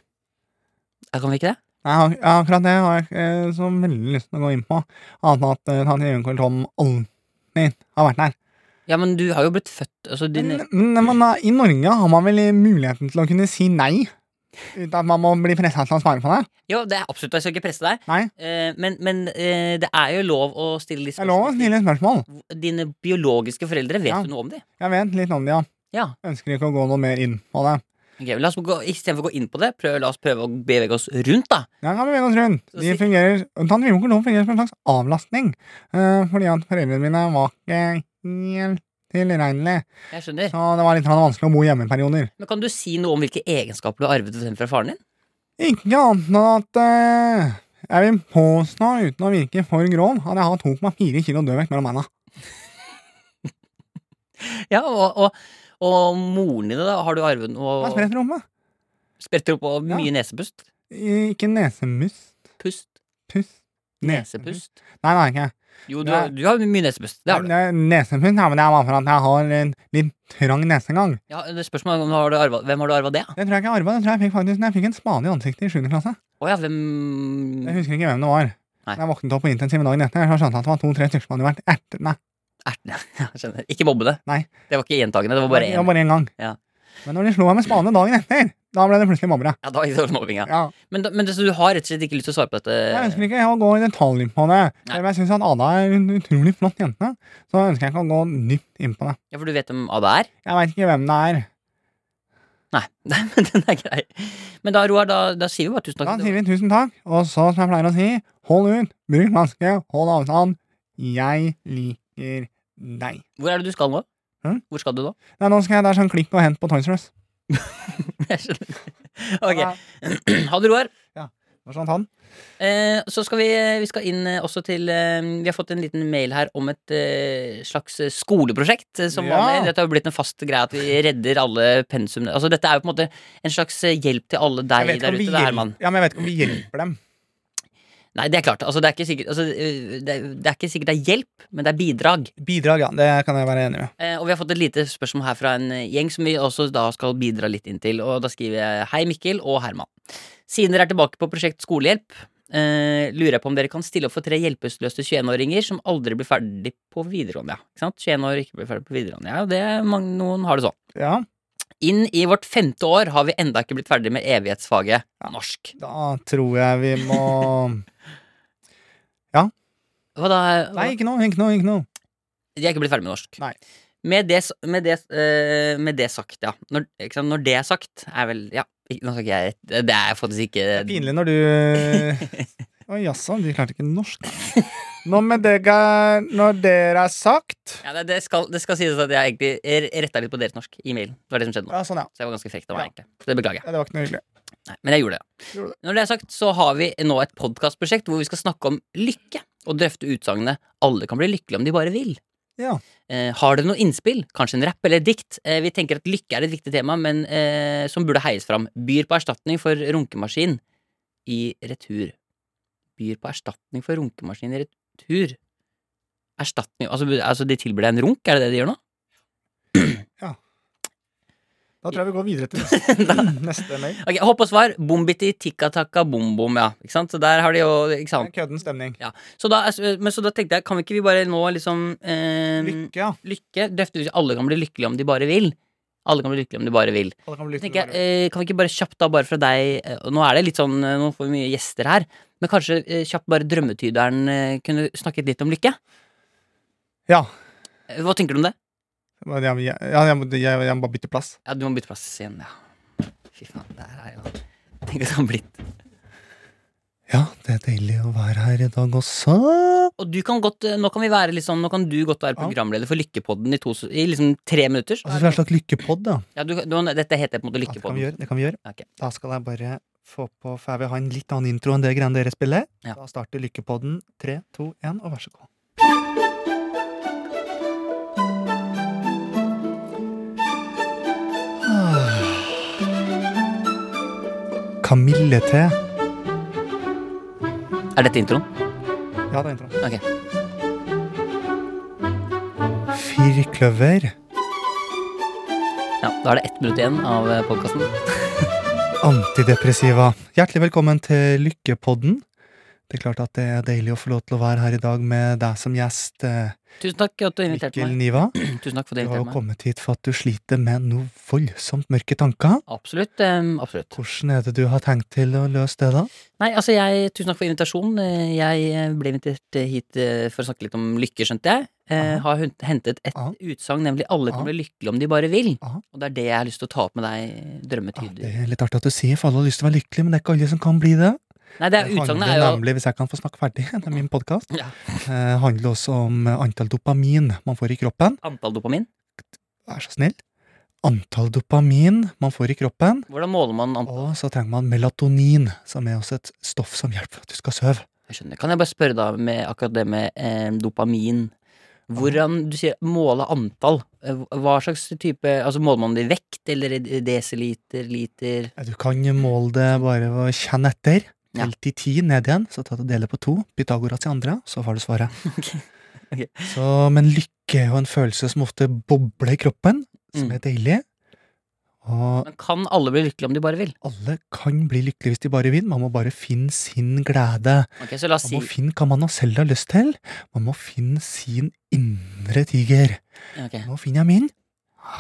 [SPEAKER 3] Ja, Kan vi ikke det?
[SPEAKER 2] Nei, ak- akkurat det har jeg ikke eh, så veldig lyst til å gå inn på. Annet enn at eh, tante Jørgen Tom alltid har vært der.
[SPEAKER 3] Ja, men du har jo blitt født altså, din,
[SPEAKER 2] Men, men når man er, i Norge har man vel muligheten til å kunne si nei? Uten at man må bli pressa til å svare på det?
[SPEAKER 3] Jo, det er absolutt, jeg skal ikke presse deg.
[SPEAKER 2] Nei.
[SPEAKER 3] Eh, men men eh, det er jo lov å stille de
[SPEAKER 2] Det er lov å
[SPEAKER 3] spørsmålene.
[SPEAKER 2] stille spørsmål.
[SPEAKER 3] Dine biologiske foreldre, vet
[SPEAKER 2] Ja.
[SPEAKER 3] du noe om dem?
[SPEAKER 2] Jeg vet litt om det, ja.
[SPEAKER 3] Ja.
[SPEAKER 2] Ønsker ikke å gå noe mer inn på det.
[SPEAKER 3] Ok, men la oss gå, Istedenfor å gå inn på det, prøv, la oss prøve å bevege oss rundt, da.
[SPEAKER 2] Ja, kan bevege oss rundt.
[SPEAKER 3] Så
[SPEAKER 2] De
[SPEAKER 3] si-
[SPEAKER 2] fungerer, Tante Vimoker nå fungerer som en slags avlastning. eh, fordi at foreldrene mine var ikke helt tilregnelige.
[SPEAKER 3] Jeg skjønner.
[SPEAKER 2] Så det var litt sånn vanskelig å bo hjemme i perioder.
[SPEAKER 3] Men kan du si noe om hvilke egenskaper du har arvet for eksempel fra faren din?
[SPEAKER 2] Ikke annet enn at eh, jeg vil påstå, uten å virke for grov, at jeg har 2,4 kilo dødvekt mellom beina.
[SPEAKER 3] Ja, og, og, og moren din, da? Har du arvet
[SPEAKER 2] Jeg
[SPEAKER 3] noe
[SPEAKER 2] har spredt rumpe.
[SPEAKER 3] Spretter opp og
[SPEAKER 2] Ja.
[SPEAKER 3] mye nesepust?
[SPEAKER 2] Ikke nesemust.
[SPEAKER 3] Pust?
[SPEAKER 2] Pust.
[SPEAKER 3] Nesepust?
[SPEAKER 2] Nei, det har jeg ikke.
[SPEAKER 3] Jo, du,
[SPEAKER 2] Nei.
[SPEAKER 3] har- du har mye nesepust. Det har du.
[SPEAKER 2] Ne- Nesepust, ja, men det er bare for at jeg har en litt trang nesegang.
[SPEAKER 3] Ja, det er spørsmålet om du har du arvet- hvem har du arva det av?
[SPEAKER 2] Det tror jeg ikke jeg arva. Det tror jeg fikk faktisk når jeg fikk en spade i ansiktet i 7. klasse.
[SPEAKER 3] Å ja, hvem
[SPEAKER 2] Jeg husker ikke hvem det var.
[SPEAKER 3] Mm. Nei.
[SPEAKER 2] Jeg våknet opp på intensiven dagen etter og skjønte at det var to-tre stykker som hadde vært ertende.
[SPEAKER 3] Erten, ja. Jeg skjønner. Ikke mobbe det.
[SPEAKER 2] Nei.
[SPEAKER 3] Det var ikke gjentagende. Det var bare én.
[SPEAKER 2] Det var bare én gang.
[SPEAKER 3] Ja.
[SPEAKER 2] Men når de slo meg med spade dagen etter, da ble det plutselig mobbere.
[SPEAKER 3] Ja, da var det mobbing, ja.
[SPEAKER 2] Ja.
[SPEAKER 3] Men, da- men det, så du har rett og slett ikke lyst til å svare på
[SPEAKER 2] Jeg
[SPEAKER 3] dette?
[SPEAKER 2] ønsker ikke å gå i detalj på det.
[SPEAKER 3] Nei.
[SPEAKER 2] Selv om jeg syns at Ada er en utrolig flott jente, så ønsker jeg ikke å gå dypt inn på det.
[SPEAKER 3] Ja, For du vet hvem Ada er?
[SPEAKER 2] Jeg veit ikke hvem det er.
[SPEAKER 3] Nei, Nei, men den er grei. Men da, Roar, da, da sier vi bare tusen takk.
[SPEAKER 2] Da sier vi tusen takk, og så, som jeg pleier å si, hold ut, bruk maske, hold avstand. Jeg liker deg.
[SPEAKER 3] Hvor er det du skal nå?
[SPEAKER 2] Hm?
[SPEAKER 3] Hvor skal du nå?
[SPEAKER 2] Nei, nå skal jeg der sånn klikk og hent på Toys R Us.
[SPEAKER 3] Jeg skjønner. Ok. Ha det, Roar.
[SPEAKER 2] Hva sånn han?
[SPEAKER 3] Eh, så skal vi, vi skal inn eh, også til eh, Vi har fått en liten mail her om et eh, slags eh, skoleprosjekt eh, som
[SPEAKER 2] Ja.
[SPEAKER 3] vanlig. Dette har jo blitt en fast greie at vi redder alle pensum Altså Dette er jo på en måte en slags eh, hjelp til alle
[SPEAKER 2] Jeg
[SPEAKER 3] deg
[SPEAKER 2] vet ikke
[SPEAKER 3] der
[SPEAKER 2] om vi
[SPEAKER 3] ute. Det er
[SPEAKER 2] hjel-
[SPEAKER 3] Herman.
[SPEAKER 2] Ja, men jeg vet ikke om vi hjelper dem.
[SPEAKER 3] Nei, det er klart. Altså, det, er ikke sikkert, altså, øh, det, er- det er ikke sikkert det er hjelp, men det er bidrag.
[SPEAKER 2] Bidrag, ja. Det kan jeg være enig med.
[SPEAKER 3] Eh, og vi har fått et lite spørsmål her fra en eh, gjeng som vi også da skal bidra litt inn til. Og da skriver jeg Hei, Mikkel og Herman. Siden dere er tilbake på Prosjekt skolehjelp, eh, lurer jeg på om dere kan stille opp for tre hjelpeløse 21-åringer som aldri blir ferdig på videregående. Ja. Ikke sant? 21 år ikke blir ferdig på videregående. Ja, det er mange, noen har det sånn.
[SPEAKER 2] Ja,
[SPEAKER 3] Inn i vårt femte år har vi enda ikke blitt ferdig med evighetsfaget norsk.
[SPEAKER 2] da tror jeg vi må
[SPEAKER 3] Hva da? hva-
[SPEAKER 2] Nei, ikke noe, ikke noe, ikke noe.
[SPEAKER 3] De er ikke blitt ferdig med norsk.
[SPEAKER 2] Nei.
[SPEAKER 3] Med det, s- med det, eh, med det sagt, ja. Når, ikke sant? Når det er sagt, er vel Ja, ikke- nå skal ikke jeg Det er faktisk
[SPEAKER 2] Det
[SPEAKER 3] ikke
[SPEAKER 2] er pinlig når du Å jaså, de klarte ikke norsk. Nå med dere Når dere er sagt
[SPEAKER 3] Ja, det, det, skal, det skal sies at jeg egentlig retta litt på deres norsk i mailen. Det var det som skjedde nå.
[SPEAKER 2] Ja, sånn, ja.
[SPEAKER 3] Så det var ganske frekt av meg, egentlig. Så det beklager jeg.
[SPEAKER 2] ja. Det var ikke noe hyggelig.
[SPEAKER 3] Nei, men jeg gjorde det.
[SPEAKER 2] Gjorde det.
[SPEAKER 3] Når det er sagt, så har vi nå et podkastprosjekt hvor vi skal snakke om lykke. Og drøfte utsagnet 'alle kan bli lykkelige om de bare vil'.
[SPEAKER 2] Ja.
[SPEAKER 3] Eh, har dere noe innspill? Kanskje en rapp eller et dikt? Eh, vi tenker at lykke er et viktig tema, men eh, som burde heies fram. Byr på erstatning for runkemaskin i retur. Byr på erstatning for runkemaskin i retur. Erstatning Altså, altså de tilbyr deg en runk? Er det det de gjør nå?
[SPEAKER 2] Da tror jeg vi går videre til neste, neste mail.
[SPEAKER 3] Ok, Hopp og svar. Bombiti tikka-takka bom-bom, ja. Ikke sant? Så der har de jo ikke
[SPEAKER 2] Det er
[SPEAKER 3] sant?
[SPEAKER 2] Kødden stemning.
[SPEAKER 3] Så da, altså, men så da tenkte jeg, kan vi ikke vi bare nå liksom eh,
[SPEAKER 2] Lykke, ja.
[SPEAKER 3] Lykke. Drøfte hvis alle kan bli lykkelige om de bare vil. Alle kan bli lykkelige om de bare vil.
[SPEAKER 2] Alle kan bli
[SPEAKER 3] Så
[SPEAKER 2] lykke.
[SPEAKER 3] tenker jeg, eh,
[SPEAKER 2] til
[SPEAKER 3] Kan vi ikke bare kjapt da, bare fra deg eh, og Nå er det litt sånn, eh, nå får vi mye gjester her, men kanskje eh, kjapt bare drømmetyderen eh, kunne snakket litt om lykke?
[SPEAKER 2] Ja.
[SPEAKER 3] Eh, Hva tenker du om det?
[SPEAKER 2] bare. Ja, men jeg- ja, jeg, må- jeg, jeg må bare bytte plass.
[SPEAKER 3] Ja, du må bytte plass igjen, ja. Fy faen, det her er jo Tenk at det har blitt
[SPEAKER 2] Ja, det er deilig å være her i dag også.
[SPEAKER 3] Og du kan godt, eh, nå kan vi være litt sånn, nå kan du godt være
[SPEAKER 2] Ja.
[SPEAKER 3] programleder for Lykkepodden i, to, s- i liksom tre minutter. så
[SPEAKER 2] Altså,
[SPEAKER 3] er
[SPEAKER 2] det er en
[SPEAKER 3] det-
[SPEAKER 2] slags lykkepod, da.
[SPEAKER 3] Ja, du, du, dette heter på en måte
[SPEAKER 2] Ja, det kan vi
[SPEAKER 3] Lykkepodden.
[SPEAKER 2] gjøre. Det kan vi gjøre.
[SPEAKER 3] Ok.
[SPEAKER 2] Da skal jeg bare få på, for jeg vil ha en litt annen intro enn det greiene dere spiller.
[SPEAKER 3] Ja.
[SPEAKER 2] Da starter lykkepodden. Tre, to, én, og vær så god. Ah. Kamillete.
[SPEAKER 3] Er dette introen?
[SPEAKER 2] Ja, det er introen.
[SPEAKER 3] Ok.
[SPEAKER 2] Firkløver.
[SPEAKER 3] Ja, da er det ett minutt igjen av eh, podkasten.
[SPEAKER 2] Antidepressiva. Hjertelig velkommen til Lykkepodden. Det er klart at det er deilig å få lov til å være her i dag med deg som gjest, eh,
[SPEAKER 3] Tusen takk at du inviterte
[SPEAKER 2] Mikkel
[SPEAKER 3] meg.
[SPEAKER 2] Niva.
[SPEAKER 3] Tusen takk for at du
[SPEAKER 2] Du har jo
[SPEAKER 3] inviterte meg.
[SPEAKER 2] kommet hit for at du sliter med noe voldsomt mørke tanker.
[SPEAKER 3] Absolutt. em, absolutt.
[SPEAKER 2] Hvordan er det du har tenkt til å løse det, da?
[SPEAKER 3] Nei, altså jeg, Tusen takk for invitasjonen. Eh, Jeg eh, ble invitert eh, hit eh, for å snakke litt om lykke, skjønte jeg. Eh,
[SPEAKER 2] Aha.
[SPEAKER 3] har hun- hentet et
[SPEAKER 2] Aha.
[SPEAKER 3] utsagn, nemlig 'alle kan
[SPEAKER 2] Aha.
[SPEAKER 3] bli lykkelige om de bare vil'.
[SPEAKER 2] Aha.
[SPEAKER 3] Og det er det jeg har lyst til å ta opp med deg,
[SPEAKER 2] Ja,
[SPEAKER 3] drømmetyder.
[SPEAKER 2] Ah, det er litt artig at du sier, for alle har lyst til å være lykkelig, men det er ikke alle som kan bli det.
[SPEAKER 3] Nei, det er utsagnet er
[SPEAKER 2] handler
[SPEAKER 3] jo
[SPEAKER 2] nemlig, hvis jeg kan få snakke ferdig, det er min podkast,
[SPEAKER 3] Ja.
[SPEAKER 2] eh, handler også om antall dopamin man får i kroppen.
[SPEAKER 3] antall dopamin.
[SPEAKER 2] Vær så snill. Antall dopamin man får i kroppen.
[SPEAKER 3] Hvordan måler man antall?
[SPEAKER 2] Og så trenger man melatonin, som er også et stoff som hjelper for at du skal sove.
[SPEAKER 3] Jeg skjønner. Kan jeg bare spørre da med akkurat det med eh, dopamin? Hvordan du sier måle antall. eh, Hva slags type Altså måler man det i vekt, eller i desiliter, liter?
[SPEAKER 2] Ja, Du kan måle det bare ved å kjenne etter.
[SPEAKER 3] Ja.
[SPEAKER 2] Tell til ti ned igjen, så tar du dele på to. Pythagoras i andre, så får du svaret.
[SPEAKER 3] Ok.
[SPEAKER 2] Så, men lykke er jo en følelse som ofte bobler i kroppen, som
[SPEAKER 3] Mm.
[SPEAKER 2] er deilig. Og
[SPEAKER 3] Men kan alle bli lykkelige om de bare vil?
[SPEAKER 2] alle kan bli lykkelige hvis de bare vil. Man må bare finne sin glede.
[SPEAKER 3] Ok, Så la oss
[SPEAKER 2] Man
[SPEAKER 3] si
[SPEAKER 2] må finne hva man selv har lyst til. Man må finne sin indre tiger.
[SPEAKER 3] Ok,
[SPEAKER 2] Nå finner jeg min.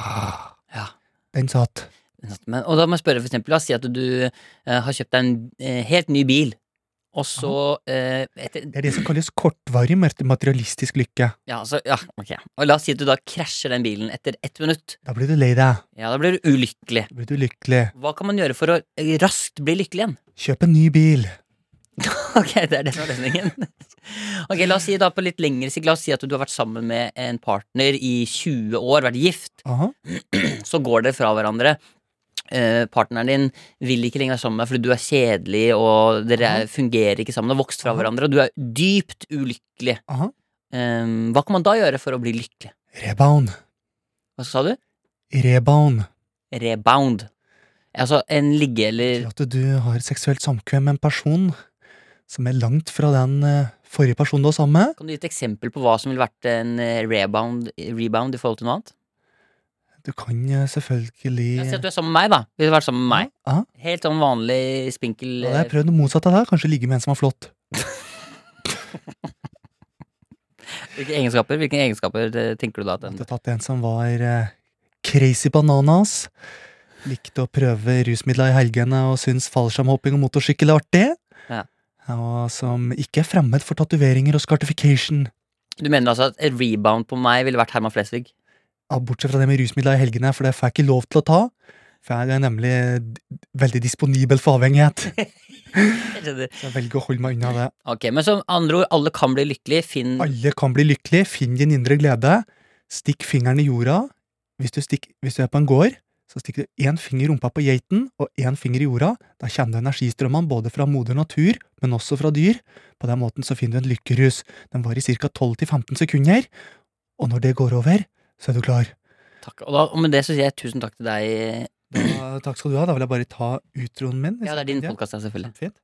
[SPEAKER 3] ja.
[SPEAKER 2] Den satt.
[SPEAKER 3] Men, og da må jeg spørre, for eksempel, la oss si at du eh, har kjøpt deg en eh, helt ny bil, og så eh, etter,
[SPEAKER 2] Det er det som kalles kortvarig mat- materialistisk lykke.
[SPEAKER 3] ja, så, ja, ok. Og la oss si at du da krasjer den bilen etter ett minutt.
[SPEAKER 2] Da blir du lei deg.
[SPEAKER 3] Ja, da blir du ulykkelig.
[SPEAKER 2] Da blir du lykkelig.
[SPEAKER 3] Hva kan man gjøre for å eh, raskt bli lykkelig igjen?
[SPEAKER 2] Kjøp en ny bil.
[SPEAKER 3] Ok, det er det som er løsningen. Ok, La oss si da på litt lengre sikt La oss si at du har vært sammen med en partner i 20 år, vært gift.
[SPEAKER 2] Aha.
[SPEAKER 3] Så går dere fra hverandre. Eh, partneren din vil ikke lenger være sammen med deg fordi du er kjedelig, og dere er- fungerer ikke sammen og har vokst fra
[SPEAKER 2] Aha.
[SPEAKER 3] hverandre, og du er dypt ulykkelig.
[SPEAKER 2] Aha.
[SPEAKER 3] Eh, hva kan man da gjøre for å bli lykkelig?
[SPEAKER 2] Rebound.
[SPEAKER 3] Hva sa du?
[SPEAKER 2] Rebound.
[SPEAKER 3] Rebound. Altså en ligge eller
[SPEAKER 2] Til at du har seksuelt samkvem med en person som er langt fra den eh, forrige personen du var sammen med.
[SPEAKER 3] Kan du gi et eksempel på hva som ville vært en eh, rebound, rebound i forhold til noe annet?
[SPEAKER 2] Du kan eh, selvfølgelig
[SPEAKER 3] Jeg ser at du er sammen med meg, da. Hvis du hadde vært sammen med meg.
[SPEAKER 2] Aha.
[SPEAKER 3] Helt sånn vanlig
[SPEAKER 2] Da
[SPEAKER 3] spinkel
[SPEAKER 2] hadde jeg prøvd det motsatte av deg. Kanskje ligge med en som er flott.
[SPEAKER 3] eh, Hvilke egenskaper, hvilke egenskaper eh, tenker du da? At
[SPEAKER 2] At
[SPEAKER 3] den,
[SPEAKER 2] du hadde tatt en som var eh, crazy bananas. Likte å prøve rusmidler i helgene og syns fallskjermhopping og motorsykkel er artig.
[SPEAKER 3] Ja.
[SPEAKER 2] Og som ikke er fremmed for tatoveringer og scartification.
[SPEAKER 3] du mener altså at en rebound på meg ville vært Herman Flesvig?
[SPEAKER 2] Ja, bortsett fra det med rusmidler i helgene, for det får jeg ikke lov til å ta. For jeg er nemlig d- veldig disponibel for avhengighet.
[SPEAKER 3] Jeg skjønner.
[SPEAKER 2] Så jeg velger å holde meg unna det.
[SPEAKER 3] Ok, Men som andre ord, alle kan bli lykkelige. Finn
[SPEAKER 2] Alle kan bli lykkelig. Finn din indre glede. Stikk fingeren i jorda. Hvis du, stikk, hvis du er på en gård, Så stikker du én finger i rumpa på geiten og én finger i jorda. Da kjenner du energistrømmene både fra moder natur, men også fra dyr. På den måten så finner du en lykkerus. Den varer i ca. 12-15 sekunder, og når det går over, så er du klar.
[SPEAKER 3] Takk. Og, da, og med det så sier jeg tusen takk til deg.
[SPEAKER 2] Da, takk skal du ha. Da vil jeg bare ta utroen min. hvis
[SPEAKER 3] Ja, det er
[SPEAKER 2] jeg
[SPEAKER 3] din
[SPEAKER 2] kan
[SPEAKER 3] podkast, selvfølgelig.
[SPEAKER 2] Kjempefint.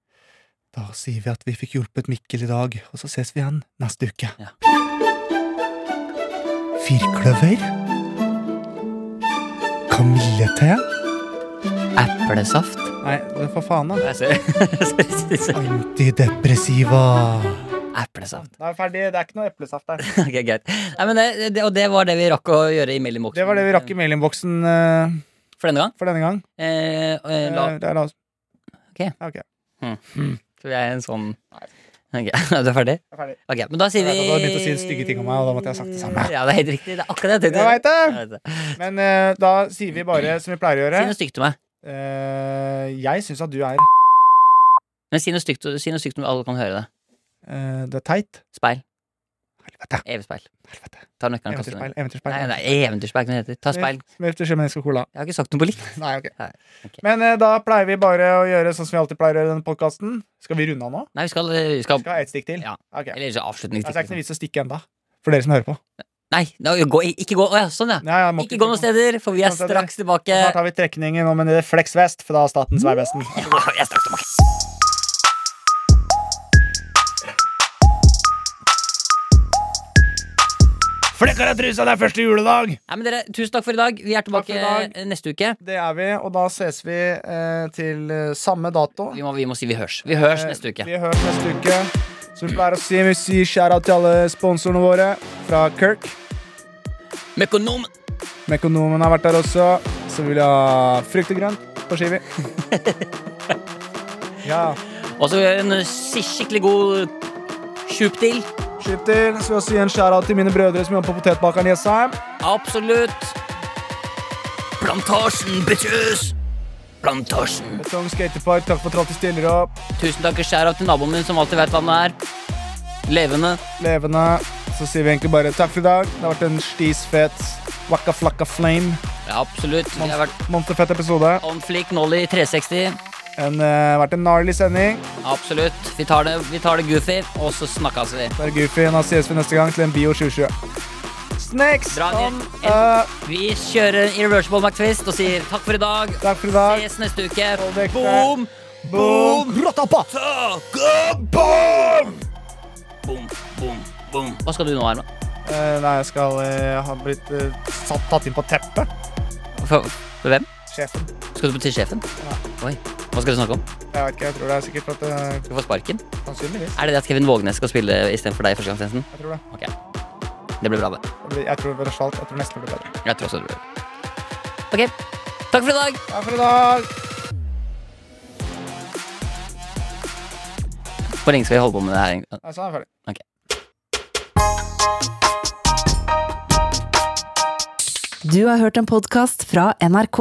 [SPEAKER 2] Da sier vi at vi fikk hjulpet Mikkel i dag, og så ses vi igjen neste uke.
[SPEAKER 3] Ja.
[SPEAKER 2] Firkløver. Kamillete.
[SPEAKER 3] Eplesaft.
[SPEAKER 2] Nei, hva faen, da?
[SPEAKER 3] Nei, sorry. Sorry, sorry.
[SPEAKER 2] Antidepressiva.
[SPEAKER 3] Eplesaft.
[SPEAKER 2] Da er vi ferdig. Det er ikke noe eplesaft der.
[SPEAKER 3] Ok, greit. Nei, men det, det, og det var det vi rakk å gjøre i mailinnboksen.
[SPEAKER 2] Det var det vi rakk i mailinnboksen eh,
[SPEAKER 3] For denne gang.
[SPEAKER 2] for denne gang.
[SPEAKER 3] Eh, og, eh, la,
[SPEAKER 2] Eh, det er da-
[SPEAKER 3] Ok.
[SPEAKER 2] Ja, ok. Jeg
[SPEAKER 3] så jeg er en sånn Ok, Du er ferdig?
[SPEAKER 2] er ferdig.
[SPEAKER 3] Ok, men da sier
[SPEAKER 2] Jeg
[SPEAKER 3] vi
[SPEAKER 2] vet at du hadde begynt å si stygge ting om meg, og da måtte jeg ha sagt det samme.
[SPEAKER 3] Ja, det er helt riktig. Det er akkurat det jeg
[SPEAKER 2] Jeg
[SPEAKER 3] tenkte.
[SPEAKER 2] veit det!
[SPEAKER 3] Jeg vet det.
[SPEAKER 2] Men eh, da sier vi bare som vi pleier
[SPEAKER 3] Si
[SPEAKER 2] å gjøre.
[SPEAKER 3] noe stygt til meg.
[SPEAKER 2] Eh, jeg syns at du er
[SPEAKER 3] Men si noe stygt, si noe stygt om alle kan høre det.
[SPEAKER 2] eh, Det er teit.
[SPEAKER 3] Speil.
[SPEAKER 2] Helvete.
[SPEAKER 3] Evig speil.
[SPEAKER 2] Helvete.
[SPEAKER 3] Ta nøkkelen og kast den.
[SPEAKER 2] Eventyrspeil.
[SPEAKER 3] Nei,
[SPEAKER 2] Eventyrspeil.
[SPEAKER 3] nei, eventyrspeil. Hva det heter Ta speil.
[SPEAKER 2] Smør til mennesker cola.
[SPEAKER 3] Jeg har ikke sagt noe på likt.
[SPEAKER 2] Nei, ok.
[SPEAKER 3] Nei, ok.
[SPEAKER 2] Men eh, da pleier vi bare å gjøre sånn som vi alltid pleier å gjøre i denne podkasten. Skal vi runde av nå?
[SPEAKER 3] Nei, vi skal, vi skal
[SPEAKER 2] Skal jeg ha ett stikk til?
[SPEAKER 3] Ja.
[SPEAKER 2] Ok.
[SPEAKER 3] Eller så avslutning.
[SPEAKER 2] Altså, det er ikke noe vits å stikke enda For dere som hører på.
[SPEAKER 3] Nei, nå, gå, ikke gå. Å ja, sånn, ja.
[SPEAKER 2] Nei, jeg må
[SPEAKER 3] Ikke gå noen steder, for vi er
[SPEAKER 2] Noen steder, ja.
[SPEAKER 3] straks tilbake.
[SPEAKER 2] Snart har vi trekningen om en refleksvest fra Statens vegvesen.
[SPEAKER 3] Ja, vi er straks tilbake.
[SPEAKER 2] Flekker av trusa, det er første juledag!
[SPEAKER 3] Nei, men dere, Tusen takk for i dag. Vi er
[SPEAKER 2] Takk for i
[SPEAKER 3] tilbake
[SPEAKER 2] dag.
[SPEAKER 3] eh, neste uke.
[SPEAKER 2] Det er vi, og da ses vi eh, til eh, samme dato.
[SPEAKER 3] Vi må, vi må si vi hørs. Vi hørs
[SPEAKER 2] Eh,
[SPEAKER 3] neste uke.
[SPEAKER 2] Vi høres neste uke. Som vi pleier å si, vi sier skjæra til alle sponsorene våre. Fra Kirk.
[SPEAKER 3] Mekonomen!
[SPEAKER 2] Mekonomen har vært der også. Så vil jeg ha frukt og grønt på skivi. ja.
[SPEAKER 3] Og så en eh, si- skikkelig god tjupdeal.
[SPEAKER 2] Slipp til. Så vil jeg også gi en skjæra til mine brødre som jobber på potetbakeren i Jessheim.
[SPEAKER 3] Absolutt. Plantasjen, bitches! Plantasjen.
[SPEAKER 2] Betong skatepark, takk for at dere stiller opp.
[SPEAKER 3] Tusen takk og skjær av til naboen min, som alltid vet hva han er. Levende.
[SPEAKER 2] Levende. Så sier vi egentlig bare takk for i dag. Det har vært en stis fet wakka flakka flame.
[SPEAKER 3] Ja, absolutt. Vi har vært
[SPEAKER 2] Monsterfett episode.
[SPEAKER 3] on fleek Nolly 360.
[SPEAKER 2] En, eh, vært en gnarly sending.
[SPEAKER 3] Absolutt. Vi tar det, vi tar det goofy, og så snakkes vi.
[SPEAKER 2] Bare goofy. Nå ses vi neste gang til en Bio 2020. Snakes!
[SPEAKER 3] Dra ned.
[SPEAKER 2] om, eh,
[SPEAKER 3] Vi kjører Irreversible McTwist og sier takk for i dag.
[SPEAKER 2] takk for i dag.
[SPEAKER 3] Ses neste uke.
[SPEAKER 2] Hold vekk
[SPEAKER 3] Boom!
[SPEAKER 2] Boom! Rottappa!
[SPEAKER 3] Boom, boom, boom. Hva skal du nå, Herman?
[SPEAKER 2] Eh, nei, jeg skal eh, ha blitt eh, satt, tatt inn på teppet.
[SPEAKER 3] For, for hvem?
[SPEAKER 2] Sjefen.
[SPEAKER 3] Skal du til sjefen? Oi. Hva skal du snakke om?
[SPEAKER 2] Jeg vet ikke, jeg tror det er sikkert at eh,
[SPEAKER 3] Skal du få sparken?
[SPEAKER 2] Sannsynligvis.
[SPEAKER 3] Er det det at Kevin Vågenes skal spille istedenfor deg i førstegangstjenesten?
[SPEAKER 2] Jeg tror det.
[SPEAKER 3] Det blir bra, det.
[SPEAKER 2] Jeg, blir, jeg tror det blir salt. Jeg tror nesten det blir bedre.
[SPEAKER 3] Jeg tror også det blir bra. Ok. Takk for i dag.
[SPEAKER 2] Takk for i dag!
[SPEAKER 3] Hvor lenge skal vi holde på med det her? egentlig?
[SPEAKER 2] Nei, sånn er jeg ferdig.
[SPEAKER 1] Du har hørt en podkast fra NRK.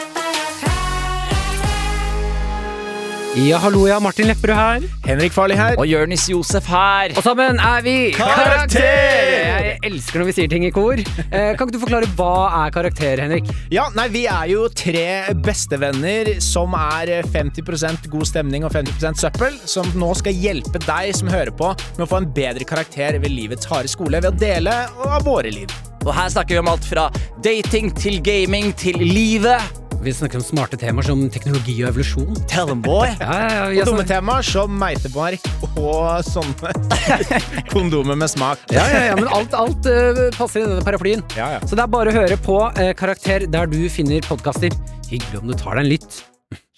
[SPEAKER 6] Ja, hallo, ja. Martin Lepperød her.
[SPEAKER 5] Henrik Farley her.
[SPEAKER 6] Og Jørnis Josef her. Og sammen er vi Jeg elsker når vi sier ting i kor. Eh, kan ikke du forklare hva er karakter, Henrik?
[SPEAKER 5] Ja, nei, vi er jo tre bestevenner som er 50 god stemning og 50 søppel, som nå skal hjelpe deg som hører på med å få en bedre karakter ved livets harde skole ved å dele av våre liv.
[SPEAKER 7] Og her snakker vi om alt fra dating til gaming til livet.
[SPEAKER 6] Vi snakker om smarte temaer som teknologi og evolusjon.
[SPEAKER 7] Tell them, boy.
[SPEAKER 6] Ja, ja,
[SPEAKER 5] Og dumme temaer som meitemark og sånne kondomer med smak.
[SPEAKER 6] ja, ja, ja, men alt, alt eh, passer i denne paraplyen.
[SPEAKER 5] Ja, ja.
[SPEAKER 6] Så det er bare å høre på eh, Karakter der du finner podkaster. Hyggelig om du tar deg en lytt.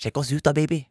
[SPEAKER 7] Sjekk oss ut da, baby.